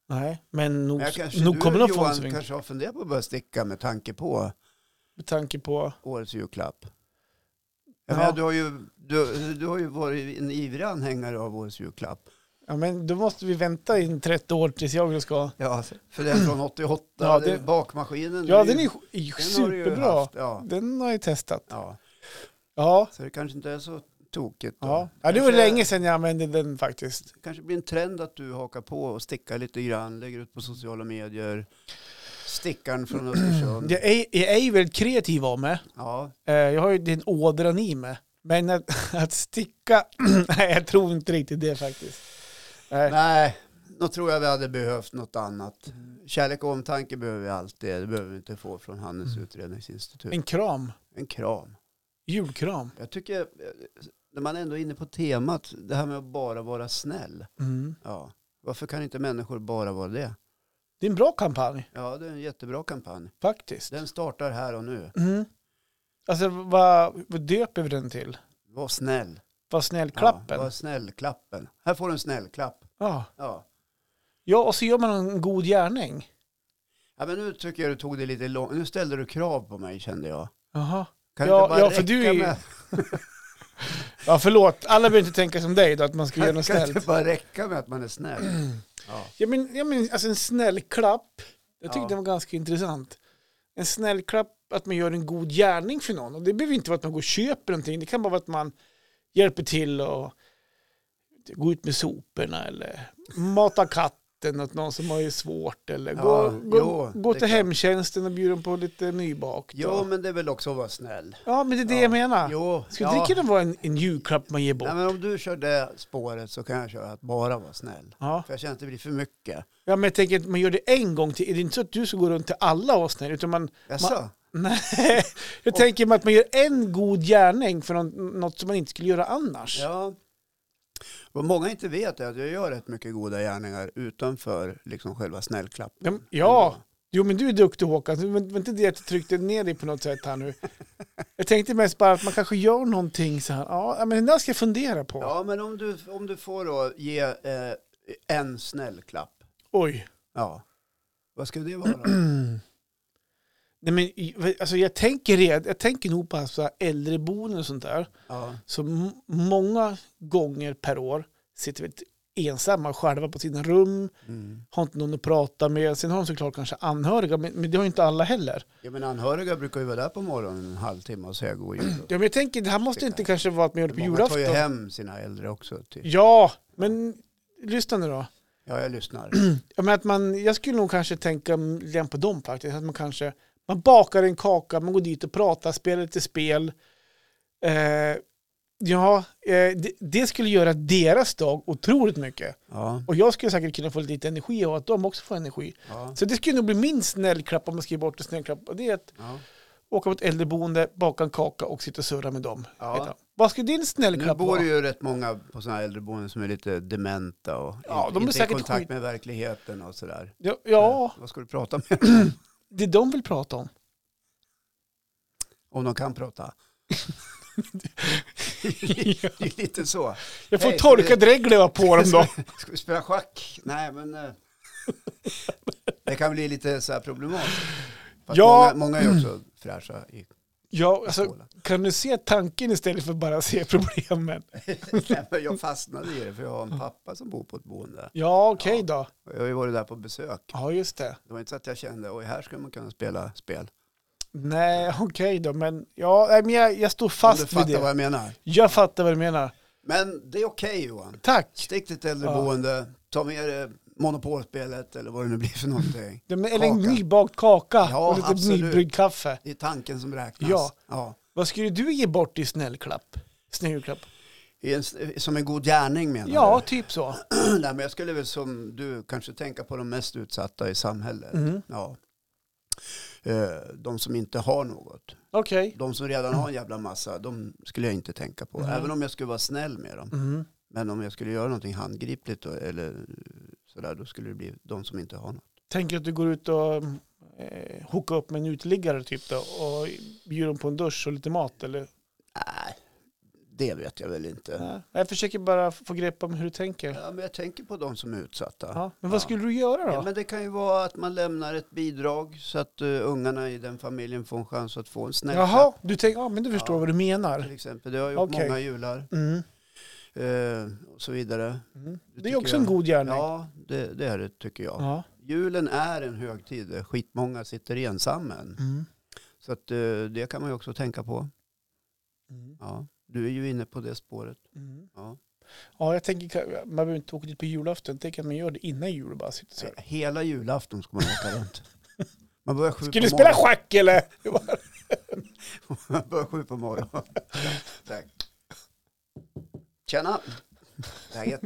C: Nej, men nog,
B: Men jag kanske,
C: nog
B: du,
C: kommer det att få en
B: Johan,
C: sving.
B: kanske har funderat på att börja sticka med tanke på
C: Med tanke på...
B: årets julklapp. Jag
C: Ja.
B: menar, du, har ju, du, du har ju varit en ivrig anhängare av årets julklapp.
C: Ja, men då måste vi vänta in 30 år tills jag ska...
B: Ja, för den från 88,
C: Ja,
B: det,
C: det-
B: bakmaskinen.
C: Ja,
B: det
C: den är
B: ju-
C: ju- är ju
B: den har du ju
C: superbra.
B: haft, ja,
C: Den har jag testat.
B: ja,
C: Ja,
B: så det kanske inte är så tokigt. Då.
C: ja. ja det var
B: Kanske-
C: länge sedan jag använde den faktiskt.
B: kanske blir en trend att du hakar på och stickar lite grann, lägger ut på sociala medier. Stickaren från Östersund.
C: Jag är, jag är ju väldigt kreativ av mig.
B: Ja,
C: Eh, Jag har ju den ådran i mig. Men att, (laughs) att sticka, (clears throat) nej jag tror inte riktigt det faktiskt. Eh, Nej.
B: nej, då tror jag vi hade behövt något annat. Kärlek och omtanke behöver vi alltid. Det behöver vi inte få från Hannes utredningsinstitut.
C: En kram,
B: En kram.
C: julkram.
B: Jag tycker, eh, när man ändå är inne på temat, det här med att bara vara snäll.
C: Mm.
B: Ja. Varför kan inte människor bara vara det?
C: Det är en bra kampanj
B: Ja, det är en jättebra kampanj.
C: faktiskt.
B: Den startar här och nu.
C: Mm. Alltså vad, vad döper vi den till?
B: Var snäll.
C: Var snäll-klappen.
B: Ja,
C: Ja,
B: var snäll-klappen. Här får du en snäll-klapp. Ja.
C: ja, och så gör man en god gärning.
B: Ja, men nu tycker jag du tog det lite långt. Nu ställde du krav på mig kände jag.
C: Jaha.
B: Kan
C: Ja,
B: det bara
C: ja, för
B: räcka
C: du är ju-
B: med, (laughs)
C: Ja, förlåt. Alla behöver inte tänka som dig då, att man ska göra
B: kan,
C: något
B: kan
C: snällt.
B: det bara räcka med att man är
C: (clears throat)
B: snäll? Ja.
C: Ja, men, ja, men alltså en snäll klapp. Jag tyckte
B: Ja.
C: den var ganska intressant. En snäll klapp, att man gör en god gärning för någon. Och det behöver inte vara att man går och köper någonting. Det kan bara vara att man hjälper till och gå ut med soporna eller mata katten åt någon som har det svårt. Eller
B: Ja,
C: gå, gå,
B: jo,
C: gå
B: det
C: till
B: är klart.
C: hemtjänsten och bjuda dem på lite nybakt.
B: Jo,
C: och-
B: men det är väl också att vara snäll.
C: ja, men det är det
B: Ja.
C: jag menar.
B: Jo,
C: Skulle inte det kunna vara en, en julklapp man ger bort?
B: Nej, men om du kör det spåret så kan jag köra att bara vara snäll.
C: Ja.
B: För jag känner att det blir för mycket.
C: ja, men jag tänker att man gör det en gång till. Det är inte så att du ska gå runt till alla oss nu, utan man,
B: Jaså?
C: Nej, jag tänker mig att man gör en god gärning för någon- något som man inte skulle göra annars.
B: Ja. Vad många inte vet är att jag gör rätt mycket goda gärningar utanför liksom själva snällklappen.
C: Ja, men- ja. jo men du är duktig Håkan, det var var inte det att jag tryckte ner dig på något sätt här nu. Jag tänkte mest bara att man kanske gör någonting så här, ja men den där ska jag fundera på.
B: Ja, men om du, om du får då ge eh, en snällklapp.
C: Oj.
B: Ja. Vad skulle det vara?
C: (clears throat) Nej, men, i- alltså, jag, tänker red, jag tänker nog på så här äldreboenden och sånt där.
B: Ja.
C: som m- många gånger per år sitter väldigt ensamma själva på sina rum,
B: Mm.
C: har inte någon att prata med. Sen har de såklart kanske anhöriga, men, men det har ju inte alla heller.
B: Ja, men anhöriga brukar ju vara där på morgonen en halvtimme och säga god jul.
C: Ja, men jag tänker, det här måste inte kanske vara att man gör (clears throat) det på
B: Många tar ju
C: julafton.
B: hem sina äldre också. Till.
C: Ja, men lyssna nu då.
B: Ja, jag
C: (clears throat)
B: lyssnar.
C: Jag, menar att man, jag skulle nog kanske tänka lite grann på dem faktiskt. Att man kanske man bakar en kaka, man går dit och pratar, spelar lite spel. Eh, ja, eh, det, det skulle göra deras dag otroligt mycket.
B: Ja,
C: Och jag skulle säkert kunna få lite energi och att de också får energi.
B: ja,
C: Så det skulle nog bli min snällklapp om jag skriver bort en snällklapp. Och det är att
B: ja.
C: åka på ett äldreboende, baka en kaka och sitta och surra med dem.
B: Ja.
C: Vet jag. Vad skulle din
B: Nu
C: snällklapp
B: bor
C: vara?
B: det ju rätt många på sådana här äldreboenden som är lite dementa och
C: Ja,
B: inte,
C: de är
B: inte i
C: säkert
B: kontakt
C: skit-
B: med verkligheten och sådär.
C: Ja, ja,
B: Vad ska du prata med?
C: det de vill prata om.
B: Om de kan
C: (laughs)
B: prata. Det är lite så.
C: Jag får
B: Hej, ska
C: torka
B: vi-
C: dreglöva på dem
B: (laughs)
C: då.
B: Ska vi spela schack? Nej, men
C: (laughs)
B: eh, det kan bli lite så här problematiskt. Fast
C: Ja.
B: många, många är ju också fräscha i
C: Ja, alltså,
B: skålen.
C: kan du se tanken istället för bara se problemen?
B: Nej, men jag fastnade i det för jag har en pappa som bor på ett boende.
C: Ja, okej då.
B: Och Jag har ju varit där på besök.
C: Ja, just det.
B: Det var inte så att jag kände, oj här ska man kunna spela spel.
C: Nej, okej då. Men, ja, nej, men jag, jag står
B: Om du
C: fast vid
B: fattar vad
C: det.
B: jag menar.
C: Jag fattar vad du menar.
B: Men det är okej Johan.
C: Tack.
B: Stick till ett äldreboende, ta med dig monopolspelet eller vad det nu blir för någonting.
C: Ja, men- Eller en
B: Kaka.
C: nybakt kaka
B: Ja,
C: och lite
B: absolut.
C: nybryggd kaffe.
B: Det är tanken som räknas.
C: Ja.
B: ja.
C: Vad skulle du ge bort i snällklapp? Snällklapp?
B: I en, som en god gärning menar
C: Ja,
B: (clears throat) du?
C: typ så.
B: Nej, men jag skulle väl som du kanske tänka på de mest utsatta i samhället.
C: Mm.
B: Ja. eh, de som inte har något.
C: Okej.
B: De som redan har en jävla massa, de skulle jag inte tänka på.
C: Mhm.
B: Även om jag skulle vara snäll med dem.
C: Mhm.
B: Men om jag skulle göra någonting handgripligt då, eller sådär, då skulle det bli de som inte har något.
C: Tänker att du går ut och eh, hookar upp med en uteliggare typ då, och bjuder dem på en dusch och lite mat eller?
B: Nej, det vet jag väl inte.
C: Nej. Jag försöker bara få grepp om hur du tänker.
B: Ja, men jag tänker på de som är utsatta.
C: Ja. Men vad
B: Ja.
C: skulle du göra då?
B: Ja, men det kan ju vara att man lämnar ett bidrag så att eh, ungarna i den familjen får en chans att få en snäll klapp,
C: Jaha, du tänker, ja men du förstår
B: Ja.
C: vad du menar.
B: till exempel. Det har jag gjort
C: Okej.
B: många jular
C: Mm.
B: eh, och så vidare.
C: Mm. Det är
B: tycker
C: också
B: jag.
C: en god gärning.
B: Ja, det, det är det tycker jag.
C: Ja.
B: Julen är en högtid där skitmånga sitter ensammen.
C: Mm.
B: Så att, eh, det kan man ju också tänka på.
C: Mm.
B: Ja. Du är ju inne på det spåret.
C: Mm.
B: Ja.
C: Ja, jag tänker, ka- man behöver inte åka dit på julafton. Tänk att man gör det innan jul och bara sitter så här.
B: Eh, Hela julafton ska man åka
C: (laughs)
B: runt. Man börjar sju
C: Ska
B: på
C: du spela
B: morgonen.
C: schack eller?
B: (laughs) Man börjar sju på
C: (laughs)
B: morgonen. Tack. Tjena! Läget?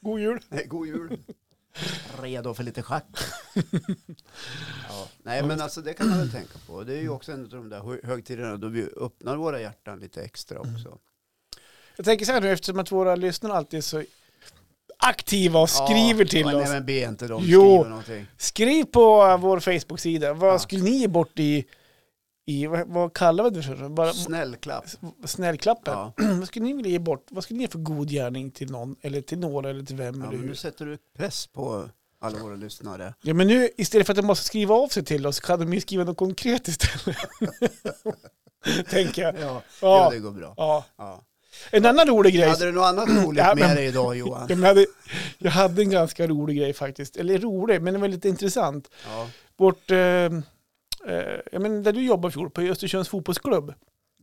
C: God jul.
B: (laughs) Nej, God jul! Redo för lite schack. (laughs) Ja. Nej, men alltså det kan man väl tänka på. Det är ju också en av de där hö- högtiderna då vi öppnar våra hjärtan lite extra också.
C: Jag tänker så här nu eftersom att våra lyssnare alltid är så aktiva och skriver
B: Ja,
C: till
B: men
C: oss.
B: Nej, men be inte dem
C: Jo.
B: skriva någonting.
C: Skriv på eh, vår Facebook-sida. Vad
B: Ja.
C: skulle ni ge bort i, i vad, vad kallar vi det för? Bara,
B: Snällklapp.
C: snällklappen.
B: Ja.
C: (clears throat) vad skulle ni vilja ge bort? Vad skulle ni ge för god gärning till någon? Eller till några eller till vem?
B: Ja,
C: eller
B: men nu
C: hur?
B: sätter du press på alla våra lyssnare.
C: Ja men nu istället för att de måste skriva av sig till oss kan de ju skriva något konkret istället. (laughs) Tänker jag.
B: Ja,
C: Ja.
B: ja det går bra.
C: Ja.
B: Ja.
C: En annan rolig grej.
B: Hade du något
C: (clears throat)
B: annat roligt
C: Ja, men-
B: med dig idag Johan?
C: Jag hade, jag hade en ganska rolig grej faktiskt. Eller rolig, men den var lite intressant.
B: Ja,
C: Vårt, eh, eh, ja, men där du jobbar i fjol, på Östersunds fotbollsklubb.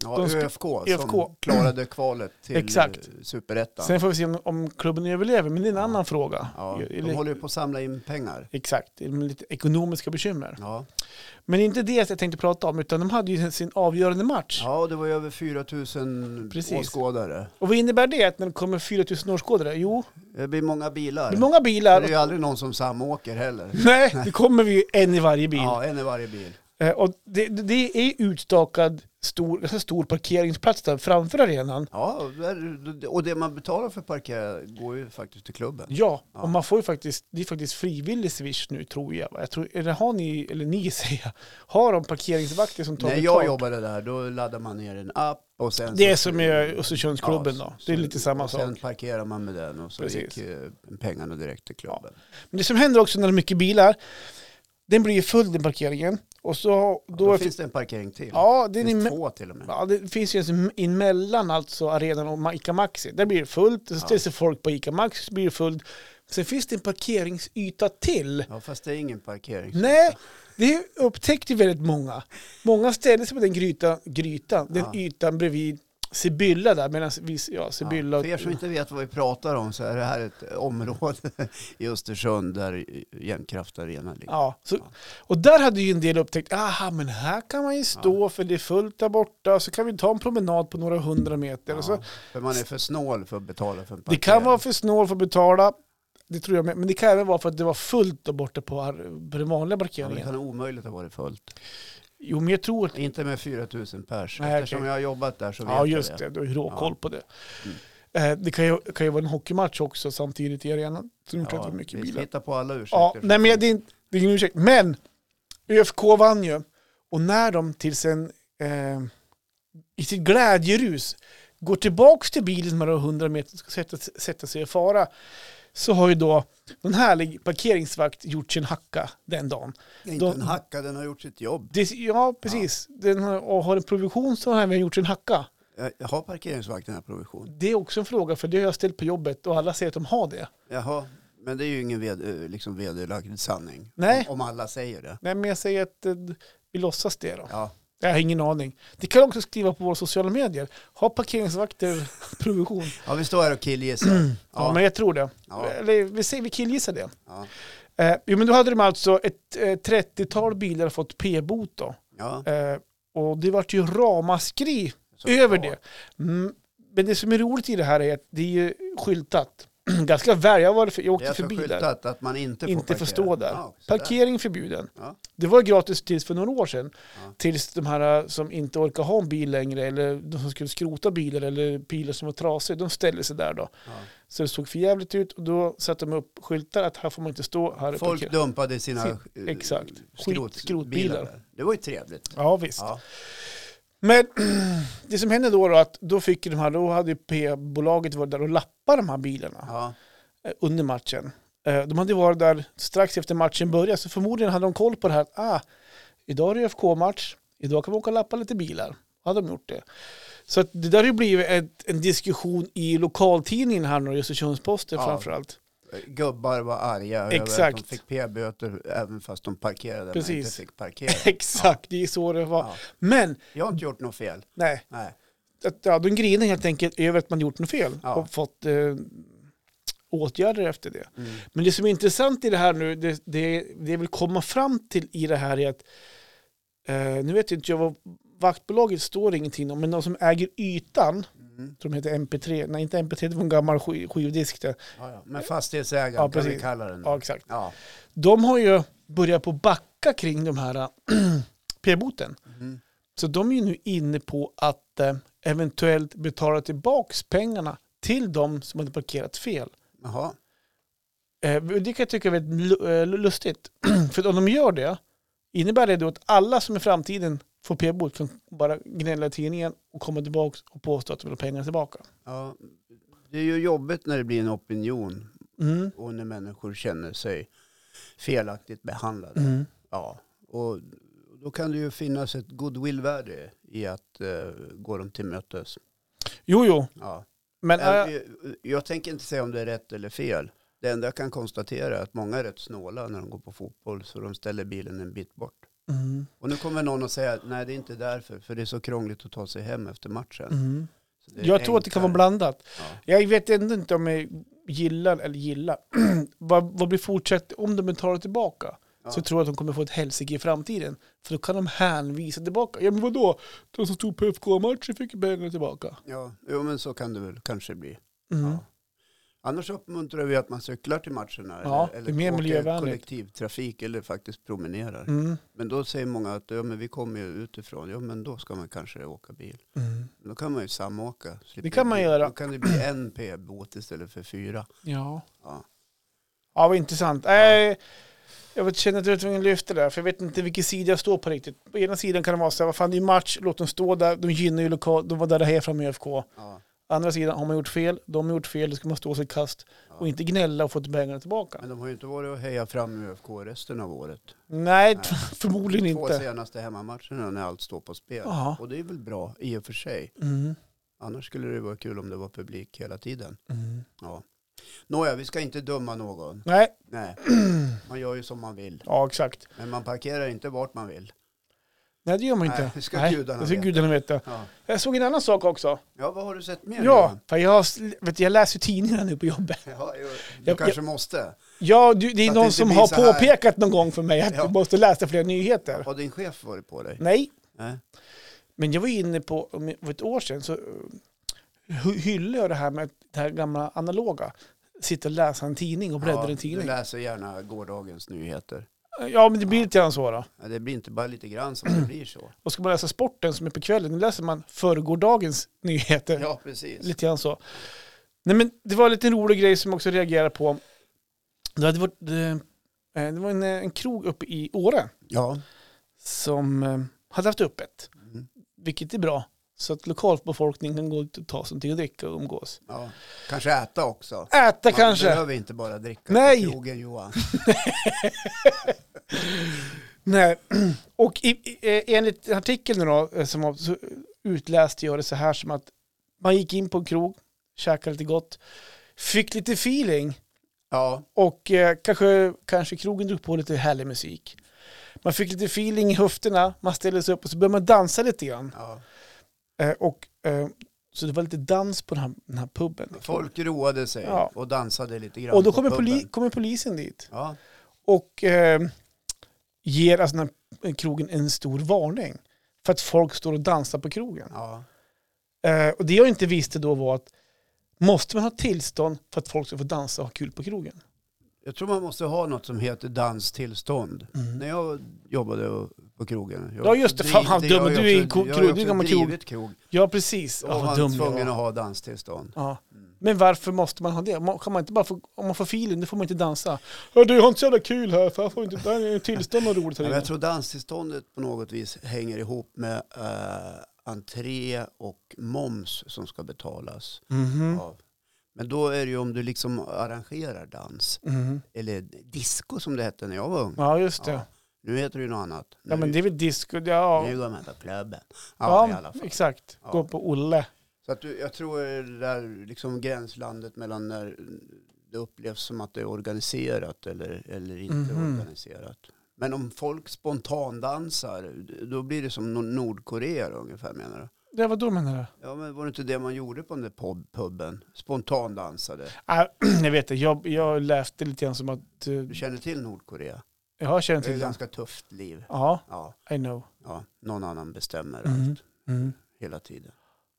B: ja
C: De ska-
B: ÖFK som
C: ÖFK.
B: klarade kvalet till
C: Exakt.
B: eh, superettan.
C: Sen får vi se om, om klubben överlever, men det är en annan fråga.
B: Ja, de
C: Eller-
B: håller ju på att samla in pengar.
C: Exakt, det är lite ekonomiska bekymmer.
B: Ja,
C: Men inte det jag tänkte prata om, utan de hade ju sin avgörande match.
B: ja det var ju över 4 000
C: Precis.
B: åskådare.
C: Och vad innebär det att när det kommer 4000 åskådare? Jo,
B: Det blir många bilar.
C: det är många
B: det
C: bilar.
B: är ju aldrig någon som samåker heller.
C: (laughs) Nej, det kommer vi ju en i varje bil.
B: Ja, en i varje bil.
C: Eh, Och det, det- det är utstakad stor, ganska stor parkeringsplats där framför arenan.
B: Ja, där- och det man betalar för att parkera går ju faktiskt till klubben.
C: Ja,
B: Ja.
C: och man får ju faktiskt, det är faktiskt frivillig swish nu tror jag. va? jag tror, eller har ni, eller ni (laughs) säger jag, har de parkeringsvakter som tar
B: När
C: betalt?
B: jag jobbade där, då laddade man ner en app och sen...
C: Det är
B: så-
C: som i Östersundsklubben
B: Alltså, Ja,
C: då. Det är
B: så-
C: lite samma
B: och
C: sak.
B: Sen parkerar man med den och så gick
C: Precis.
B: eh, pengarna direkt till klubben.
C: Men det som händer också när det är mycket bilar, den blir ju full den parkeringen. Och så
B: Ja,
C: då,
B: då
C: är-
B: finns det en parkering till.
C: ja, den
B: det
C: är
B: finns
C: me-
B: två till och med.
C: ja, det finns ju en som- emellan alltså arenan och Ma- Ica Maxi. Där blir det fullt, så
B: Ja.
C: ställer sig folk på Ica Maxi så blir det fullt. Sen finns det en parkeringsyta till.
B: Ja, fast det är ingen parkering.
C: Nej, det upptäckte väldigt många. Många ställde sig på den grytan, grytan den
B: Ja.
C: ytan bredvid Sibylla där, medan vi, ja, Sibylla
B: Ja, för er som inte vet vad vi pratar om så är det här ett område i Östersund där Jämtkraft Arena ligger.
C: Ja, så, och där hade ju en del upptäckt, aha men här kan man ju stå för det är fullt där borta, så kan vi ta en promenad på några hundra meter. Och så,
B: Ja, för man är för snål för att betala för en
C: det
B: parkering.
C: kan vara för snål för att betala, det tror jag med, men det kan även vara för att det var fullt där borta på, ar- på den vanliga
B: Ja, men det
C: parkeringen.
B: kan omöjligt ha varit fullt.
C: Jo men jag tror att,
B: Inte med 4 000 pers.
C: Nej,
B: Eftersom
C: okej.
B: jag har jobbat där så vet
C: ja just
B: jag
C: det, du har ju råkoll
B: Ja. Mm.
C: på det. Eh, Det kan ju, kan ju vara en hockeymatch också samtidigt i arenan, som gjort att det var mycket
B: vi
C: bilar.
B: hittar på alla ursäkter.
C: Ja,
B: som
C: nej men
B: finns.
C: det är, inte- det är ingen ursäkt. Men ÖFK vann ju. Och när de till sin, eh, i sitt glädjerus går tillbaks till bilen några hundra meter och ska sätta, sätta sig i fara så har ju då någon härlig parkeringsvakt gjort sin hacka den dagen.
B: Det är inte
C: de-
B: en hacka, den har gjort sitt jobb.
C: Det, ja, precis. Den har, och har en provision så har även gjort sin hacka.
B: Jag jag har parkeringsvakten här provision.
C: Det är också en fråga för det har jag ställt på jobbet och alla säger att de har det.
B: Jaha, men det är ju ingen ved, eh, liksom vederlagd sanning.
C: Nej.
B: Om, om alla säger det.
C: Nej, men jag säger att eh, vi låtsas det då.
B: Ja,
C: Jag har ingen aning. Det kan också skriva på våra sociala medier. Har parkeringsvakter provision?
B: (laughs) ja vi står här och killgissar.
C: Ja.
B: Ja,
C: men jag tror det.
B: Ja.
C: Eller vi, säger, vi killgissar det.
B: ja,
C: Eh, jo, men då hade de alltså ett eh, 30-tal bilar fått p-bot då.
B: ja.
C: Eh, och det vart ju ramaskri
B: Så
C: över
B: klart.
C: det. Mm, men det som är roligt i det här är att det är ju skyltat. (clears throat) ganska väl. Jag, var, jag
B: Det är
C: åkte
B: alltså
C: förbi där.
B: skyltat att man inte får
C: Inte
B: parkera.
C: får stå där.
B: Ja, så
C: Parkering förbjuden.
B: Ja.
C: Det var gratis tills för några år sedan.
B: Ja.
C: Tills de här eh, som inte orkar ha en bil längre eller de som skulle skrota bilar eller bilar som var trasiga, de ställde sig där då.
B: Ja.
C: Så det såg för jävligt ut och då satte de upp skyltar att här får man inte stå, här är
B: Folk
C: parkering.
B: dumpade sina
C: Sin-
B: eh,
C: exakt.
B: skrot-
C: Skit- skrotbilar.
B: bilar där. Det var ju trevligt.
C: Ja visst.
B: Ja.
C: Men (clears throat) det som hände då, då att då fick ju de här, då hade ju P-bolaget varit där och lappat de här bilarna
B: Ja.
C: eh, under matchen. Eh, De hade ju varit där strax efter matchen började, så förmodligen hade de koll på det här. Ah, idag är det FK-match, idag kan vi åka och lappa lite bilar. Hade de gjort det. Så att det där har ju blivit ett, en diskussion i lokaltidningen här nu, Östersunds-Posten
B: Ja.
C: framförallt. (laughs)
B: Gubbar var arga över att de
C: Exakt.
B: fick p-böter även fast de parkerade Precis. men
C: Precis.
B: inte fick parkera.
C: Exakt, det är så det var.
B: Ja.
C: Men,
B: Jag har inte gjort något fel.
C: nej,
B: Nej.
C: att, ja, de grinar helt enkelt över att man gjort något fel
B: Ja.
C: och fått eh, åtgärder efter det.
B: Mm.
C: Men det som är intressant i det här nu, det, det, det jag vill komma fram till i det här är att, eh, nu vet inte jag vad vaktbolaget står ingenting om, men de som äger ytan,
B: Mm.
C: tror de heter MP3, nej inte MP3, det var en gammal skiv, skivdisk där.
B: Ja, ja. Men fastighetsägaren
C: Ja,
B: kan vi
C: precis.
B: kalla den.
C: Ja, exakt.
B: Ja.
C: De har ju börjat på backa kring de här eh, (clears throat) p-boten.
B: Mm.
C: Så de är ju nu inne på att eh, eventuellt betala tillbaks pengarna till de som hade parkerat fel.
B: Jaha.
C: Eh, det kan jag tycka är väldigt lu- eh, lustigt. (clears throat) För att om de gör det, innebär det då att alla som i framtiden får p-bot kan bara gnälla i tidningen och komma tillbaka och påstå att de vill ha pengarna tillbaka.
B: Ja. Det är ju jobbigt när det blir en opinion
C: Mm.
B: och när människor känner sig felaktigt behandlade.
C: Mm.
B: Ja. Och då kan det ju finnas ett goodwill-värde i att eh, gå dem till mötes.
C: Jo, jo,
B: Ja.
C: men
B: Men,
C: äh,
B: jag, jag tänker inte säga om det är rätt eller fel. Det enda jag kan konstatera är att många är rätt snåla när de går på fotboll så de ställer bilen en bit bort.
C: mm.
B: Och nu kommer någon att säga nej det är inte därför för det är så krångligt att ta sig hem efter matchen.
C: Mm.
B: Så det är
C: jag tror att det kan vara
B: enklare.
C: blandat. Jag vet ändå inte om jag gillar eller gillar. (clears throat) vad, vad blir fortsatt om de betalar tillbaka?
B: Ja.
C: Så tror jag att de kommer få ett helsike i framtiden. För då kan de hänvisa tillbaka. Ja men vadå? De som stod på FK-matchen fick ju pengarna tillbaka.
B: Ja. ja, jo, men så kan det väl kanske bli.
C: Mm.
B: Ja. Annars uppmuntrar vi att man cyklar till matcherna
C: Ja,
B: eller,
C: det är
B: eller
C: mer
B: åker
C: miljövänligt.
B: kollektivtrafik eller faktiskt promenerar.
C: Mm.
B: Men då säger många att ja, men vi kommer ju utifrån, ja men då ska man kanske åka bil.
C: Mm.
B: Då kan man ju samåka. Slipper
C: Det kan man
B: bli-
C: göra.
B: Då kan det bli en p-båt istället för fyra.
C: Ja.
B: Ja.
C: Ja, vad intressant. Nej, jag vet, känner att jag var tvungen att lyfta det där, för jag vet inte vilken sida jag står på riktigt. På ena sidan kan det vara så här, vad fan det är match, låt dem stå där, de gynnar ju lokal, de var där det här från ÖFK.
B: Ja.
C: Andra sidan, har man gjort fel, de har gjort fel, då ska man stå sig kast och inte gnälla och få pengarna tillbaka.
B: Men de har ju inte varit och hejat fram ÖFK resten av året.
C: Nej,
B: Nej.
C: (laughs) förmodligen
B: Två
C: inte.
B: senaste hemmamatcherna när allt står på spel.
C: Ja.
B: Och det är väl bra i och för sig.
C: Mm.
B: Annars skulle det vara kul om det var publik hela tiden.
C: Mm.
B: Ja. Nåja, vi ska inte döma någon.
C: Nej,
B: Nej, (clears throat) man gör ju som man vill.
C: ja exakt.
B: Men man parkerar inte vart man vill.
C: Nej, det gör man
B: Nej,
C: inte.
B: det ska gudarna
C: det ska
B: veta.
C: gudarna veta.
B: Ja,
C: Jag såg en annan sak också.
B: ja vad har du sett mer?
C: Ja,
B: Johan?
C: för jag, har- vet, du, jag läser ju tidningarna nu på jobbet.
B: ja jo, du
C: Jag-
B: kanske måste.
C: Ja, du, det är
B: Så att det
C: någon
B: inte
C: som
B: blir
C: har
B: så här.
C: påpekat någon gång för mig att
B: Ja.
C: du måste läsa fler nyheter.
B: Har din chef varit på dig?
C: Nej,
B: Nej.
C: men jag var inne på, om- för ett år sedan så eh, hy- hyllade jag det här med det här gamla analoga. Sitta och läsa en tidning och bläddra i en
B: Du
C: tidning.
B: läser gärna gårdagens nyheter.
C: Ja, men det blir lite grann så då.
B: Ja, det blir inte bara lite grann
C: (clears throat)
B: som det blir så.
C: Och ska man läsa sporten som är på kvällen, då läser man förrgårdagens nyheter.
B: Ja, precis.
C: Lite grann så. Nej, men det var en liten rolig grej som jag också reagerade på. Det, hade varit, eh, eh, det var en, eh, en krog uppe i Åre
B: Ja.
C: som eh, hade haft öppet.
B: Mm.
C: vilket är bra. Så att lokalbefolkningen kan gå ut och ta sig någonting att dricka och umgås.
B: ja. Kanske äta också.
C: Äta kanske.
B: Man behöver inte bara dricka på
C: Nej.
B: krogen Johan.
C: Nej. (clears throat) Och i, i, eh, enligt artikeln då, eh, som var, så utläste jag det så här som att man gick in på en krog, käkade lite gott, fick lite feeling
B: Ja,
C: och eh, kanske, kanske krogen drog på lite härlig musik. Man fick lite feeling i höfterna, man ställde sig upp och så började man dansa lite grann.
B: ja.
C: Eh, och, eh, så det var lite dans på den här, den här puben.
B: Folk roade sig
C: Ja.
B: och dansade lite grann
C: Och då
B: på
C: kommer, poli,
B: puben.
C: kommer polisen dit.
B: Ja,
C: och eh, ger alltså den här krogen en stor varning för att folk står och dansar på krogen.
B: ja.
C: Eh, och det jag inte visste då var att Måste man ha tillstånd för att folk ska få dansa och ha kul på krogen?
B: Jag tror man måste ha något som heter danstillstånd. När jag jobbade och- på krogen. jag-
C: Mm. Ja, just det. Fan, han
B: Driv- jag har
C: dum, du är
B: ju
C: en
B: också-
C: ko-
B: jag
C: krog,
B: har
C: du
B: ju
C: är gammal
B: också
C: krog.
B: drivit krog.
C: Ja, precis.
B: Och
C: Ja,
B: var
C: vad dum jag
B: tvungen att Mm.
C: var.
B: ha danstillstånd.
C: Ja. Men varför måste man ha det? Man- Kan man inte bara få, om man får feeling, då får man inte dansa. Ja, du jag har inte så jävla kul här, för jag får inte, det här är tillstånd och roligt här
B: Ja, men
C: inne.
B: jag tror danstillståndet på något vis hänger ihop med eh, entré och moms som ska betalas
C: Mhm.
B: av. Men då är det ju om du liksom arrangerar dans,
C: Mhm.
B: eller disco som det hette när jag var ung.
C: Ja, just det.
B: Ja. Nu heter det ju något annat. Nu,
C: Ja, men det är väl disco. Ja,
B: nu går man på klubben. Ja, i
C: ja
B: alla fall.
C: exakt.
B: Ja.
C: Gå på Olle.
B: Så att du, jag tror det där liksom gränslandet mellan när det upplevs som att det är organiserat eller, eller inte
C: Mhm.
B: organiserat. Men om folk spontandansar, då blir det som Nor- Nordkorea då, ungefär menar du?
C: Det var då menar du?
B: Ja men var det inte det man gjorde på den där pub, puben? Spontandansade.
C: Ah, (clears throat) jag vet det. Jag, jag läste lite grann som att eh,
B: Du känner till Nordkorea?
C: jag har känt
B: Det är
C: till
B: ett
C: det.
B: ganska tufft liv.
C: Ja,
B: Ja,
C: I know.
B: ja. någon annan bestämmer
C: Mhm.
B: allt
C: Mm.
B: hela tiden.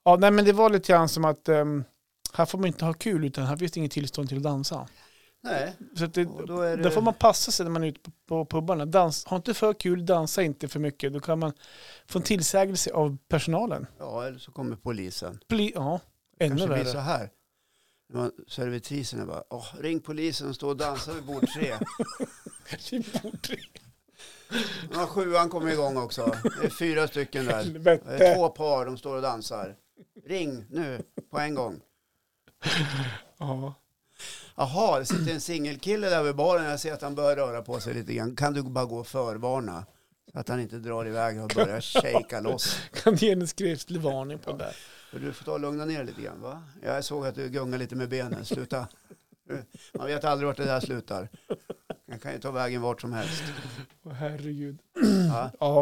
C: Ja, nej, men det var lite grann som att ehm, här får man inte ha kul utan här finns det inget tillstånd till att dansa.
B: Nej,
C: Så att det,
B: och då är det...
C: Där får man passa sig när man är ute på, på pubarna. Dans, ha inte för kul, dansa inte för mycket. Då kan man få en tillsägelse av personalen.
B: Ja, eller så kommer polisen.
C: Bli, ja, ännu
B: kanske blir så
C: värre.
B: här. När man, servitrisen är bara, "Åh, ring polisen och stå och dansa vid bord tre. (laughs) Ja, sjuan kommer igång också. Det är fyra stycken där. Det är
C: Helvete.
B: två par, de står och dansar. Ring nu, på en gång.
C: Ja.
B: Jaha, det sitter en singelkille där vid baren. Jag ser att han börjar röra på sig lite grann. Kan du bara gå och förvarna? Så att han inte drar iväg och börjar shaka loss.
C: Kan ge en skriftlig varning på det.
B: För Du får ta och lugna ner lite grann, va? Jag såg att du gungar lite med benen. Sluta. Man vet aldrig vart det där slutar. Man kan ju ta vägen vart som helst.
C: Åh, herregud.
B: Ja.
C: Ja.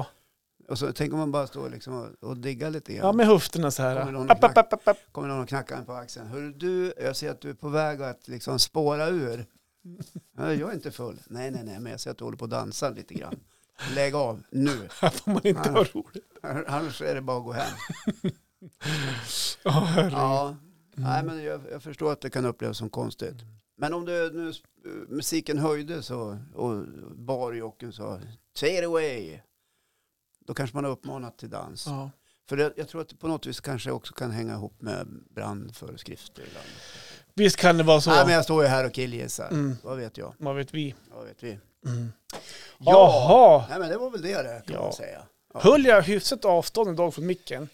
C: och
B: Och så tänk om man bara står liksom och- och diggar lite grann.
C: ja, med höfterna så
B: Kommer
C: här.
B: någon
C: App, app, app, app, app.
B: Kommer någon och knackar en på axeln. Hör du, jag ser att du är på väg att liksom spåra
C: (laughs)
B: ur. "Ja, Jag är inte full. Nej, nej, nej, men jag ser att du håller på att dansa lite grann. Lägg av nu.
C: (laughs) Här får man inte
B: Ja.
C: ha roligt.
B: Annars är det bara att gå
C: (laughs)
B: hem.
C: Ja, herregud.
B: Ja, nej, men jag, jag förstår att det kan upplevas som konstigt.
C: Mm.
B: Men om det, nu eh, musiken höjdes och, och barjocken sa take it away. Då kanske man har uppmanat till dans.
C: Ja.
B: För det, jag tror att det på något vis kanske också kan hänga ihop med brandföreskrifter. Ibland.
C: Visst kan det vara så.
B: Nej men jag står ju här och killgissar.
C: Mm.
B: Vad vet jag?
C: Vad vet vi?
B: Vad vet vi?
C: Mm.
B: Ja!
C: Jaha.
B: Nej men det var väl det det kan
C: Ja.
B: man säga. Ja.
C: Höll jag hyfsat avstånd idag från micken?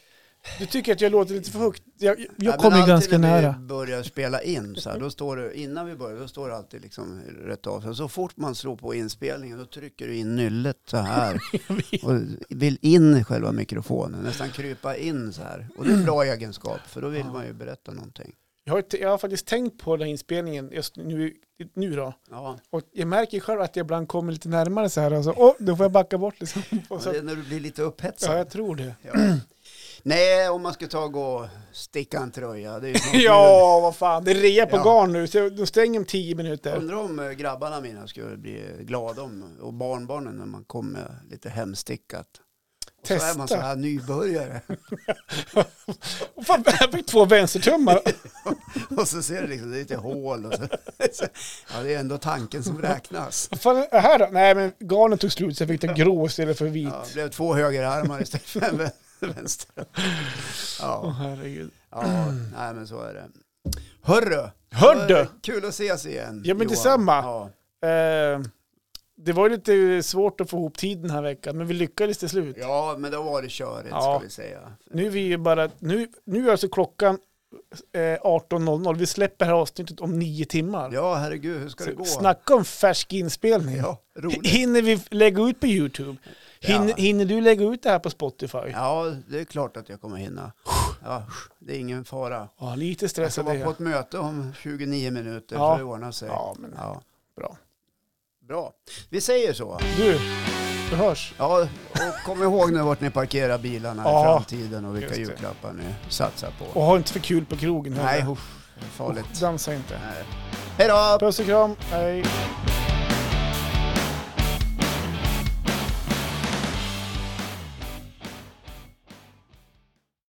C: Du tycker att jag låter lite för högt. Jag, jag
B: Nej, men
C: kommer ju
B: alltid
C: ganska
B: när vi
C: nära.
B: börjar spela in
C: (laughs)
B: så här, då står det, innan vi börjar, då står det alltid liksom rätt av. Sen Så fort man slår på inspelningen, då trycker du in nyllet så
C: (laughs)
B: här. och vill in i själva mikrofonen, nästan krypa in så här. Och det är en bra egenskap, för då vill man ju berätta någonting.
C: Jag har, t- jag har faktiskt tänkt på den här inspelningen just nu, nu då.
B: Ja,
C: Och jag märker ju själv att jag ibland kommer lite närmare så här och så, åh, då får jag backa bort liksom. Och
B: och
C: så,
B: det är när du blir lite
C: ja,
B: upphetsad.
C: jag tror det.
B: Ja. Nej, om man ska ta och gå och sticka en tröja.
C: (laughs)
B: Det är ju snart
C: Ja, vad fan, det är rea på
B: Ja.
C: garn nu, så jag- de stänger om tio
B: jul.
C: minuter.
B: Undrar om eh, grabbarna mina skulle bli glada om, och barnbarnen när man kommer lite hemstickat. Och så är man så
C: Testa.
B: här nybörjare. (laughs)
C: Och fan, (laughs) jag fick två vänstertummar.
B: Och så ser du liksom, det är lite hål och så. (laughs) Ja, det är ändå tanken som räknas.
C: Vad fan är det här då? Nej, men garnet tog slut så jag fick ta grå istället för vit.
B: Ja, det blev två högerarmar istället för en vän- (laughs) vänster.
C: Åh,
B: Ja,
C: herregud.
B: ja, nej men så är det. Hörru!
C: Hör du!
B: Kul att ses igen.
C: Ja, men
B: Johan.
C: detsamma.
B: Ja.
C: Eh, det var ju lite svårt att få ihop tiden den här veckan, men vi lyckades till slut.
B: ja, men då var det körigt
C: Ja.
B: ska vi säga.
C: Nu är vi ju bara, nu, nu är alltså klockan eh, 18.00. Vi släpper det här avsnittet om nio timmar.
B: Ja, herregud, hur ska det
C: Så
B: gå?
C: Snacka om färsk inspelning.
B: Ja, roligt.
C: Hinner vi lägga ut på YouTube? Hinner,
B: Ja.
C: hinner du lägga ut det här på Spotify? Ja,
B: Ja, det är klart att jag kommer hinna. Ja, det är ingen fara.
C: lite
B: Jag
C: stress
B: ska
C: av
B: vara på
C: det.
B: ett möte om 29 minuter,
C: Ja.
B: så det ordnar sig.
C: Ja, men
B: Ja.
C: bra.
B: Bra. Vi säger så.
C: Du, vi hörs.
B: Ja, och kom ihåg nu vart ni parkerar bilarna
C: Ja,
B: i framtiden och vilka
C: just det.
B: julklappar ni satsar
C: Och
B: på.
C: ha inte för kul på krogen.
B: Nej,
C: heller.
B: usch, farligt.
C: Dansa inte.
B: Nej. Hej då!
C: Puss och kram. Hej.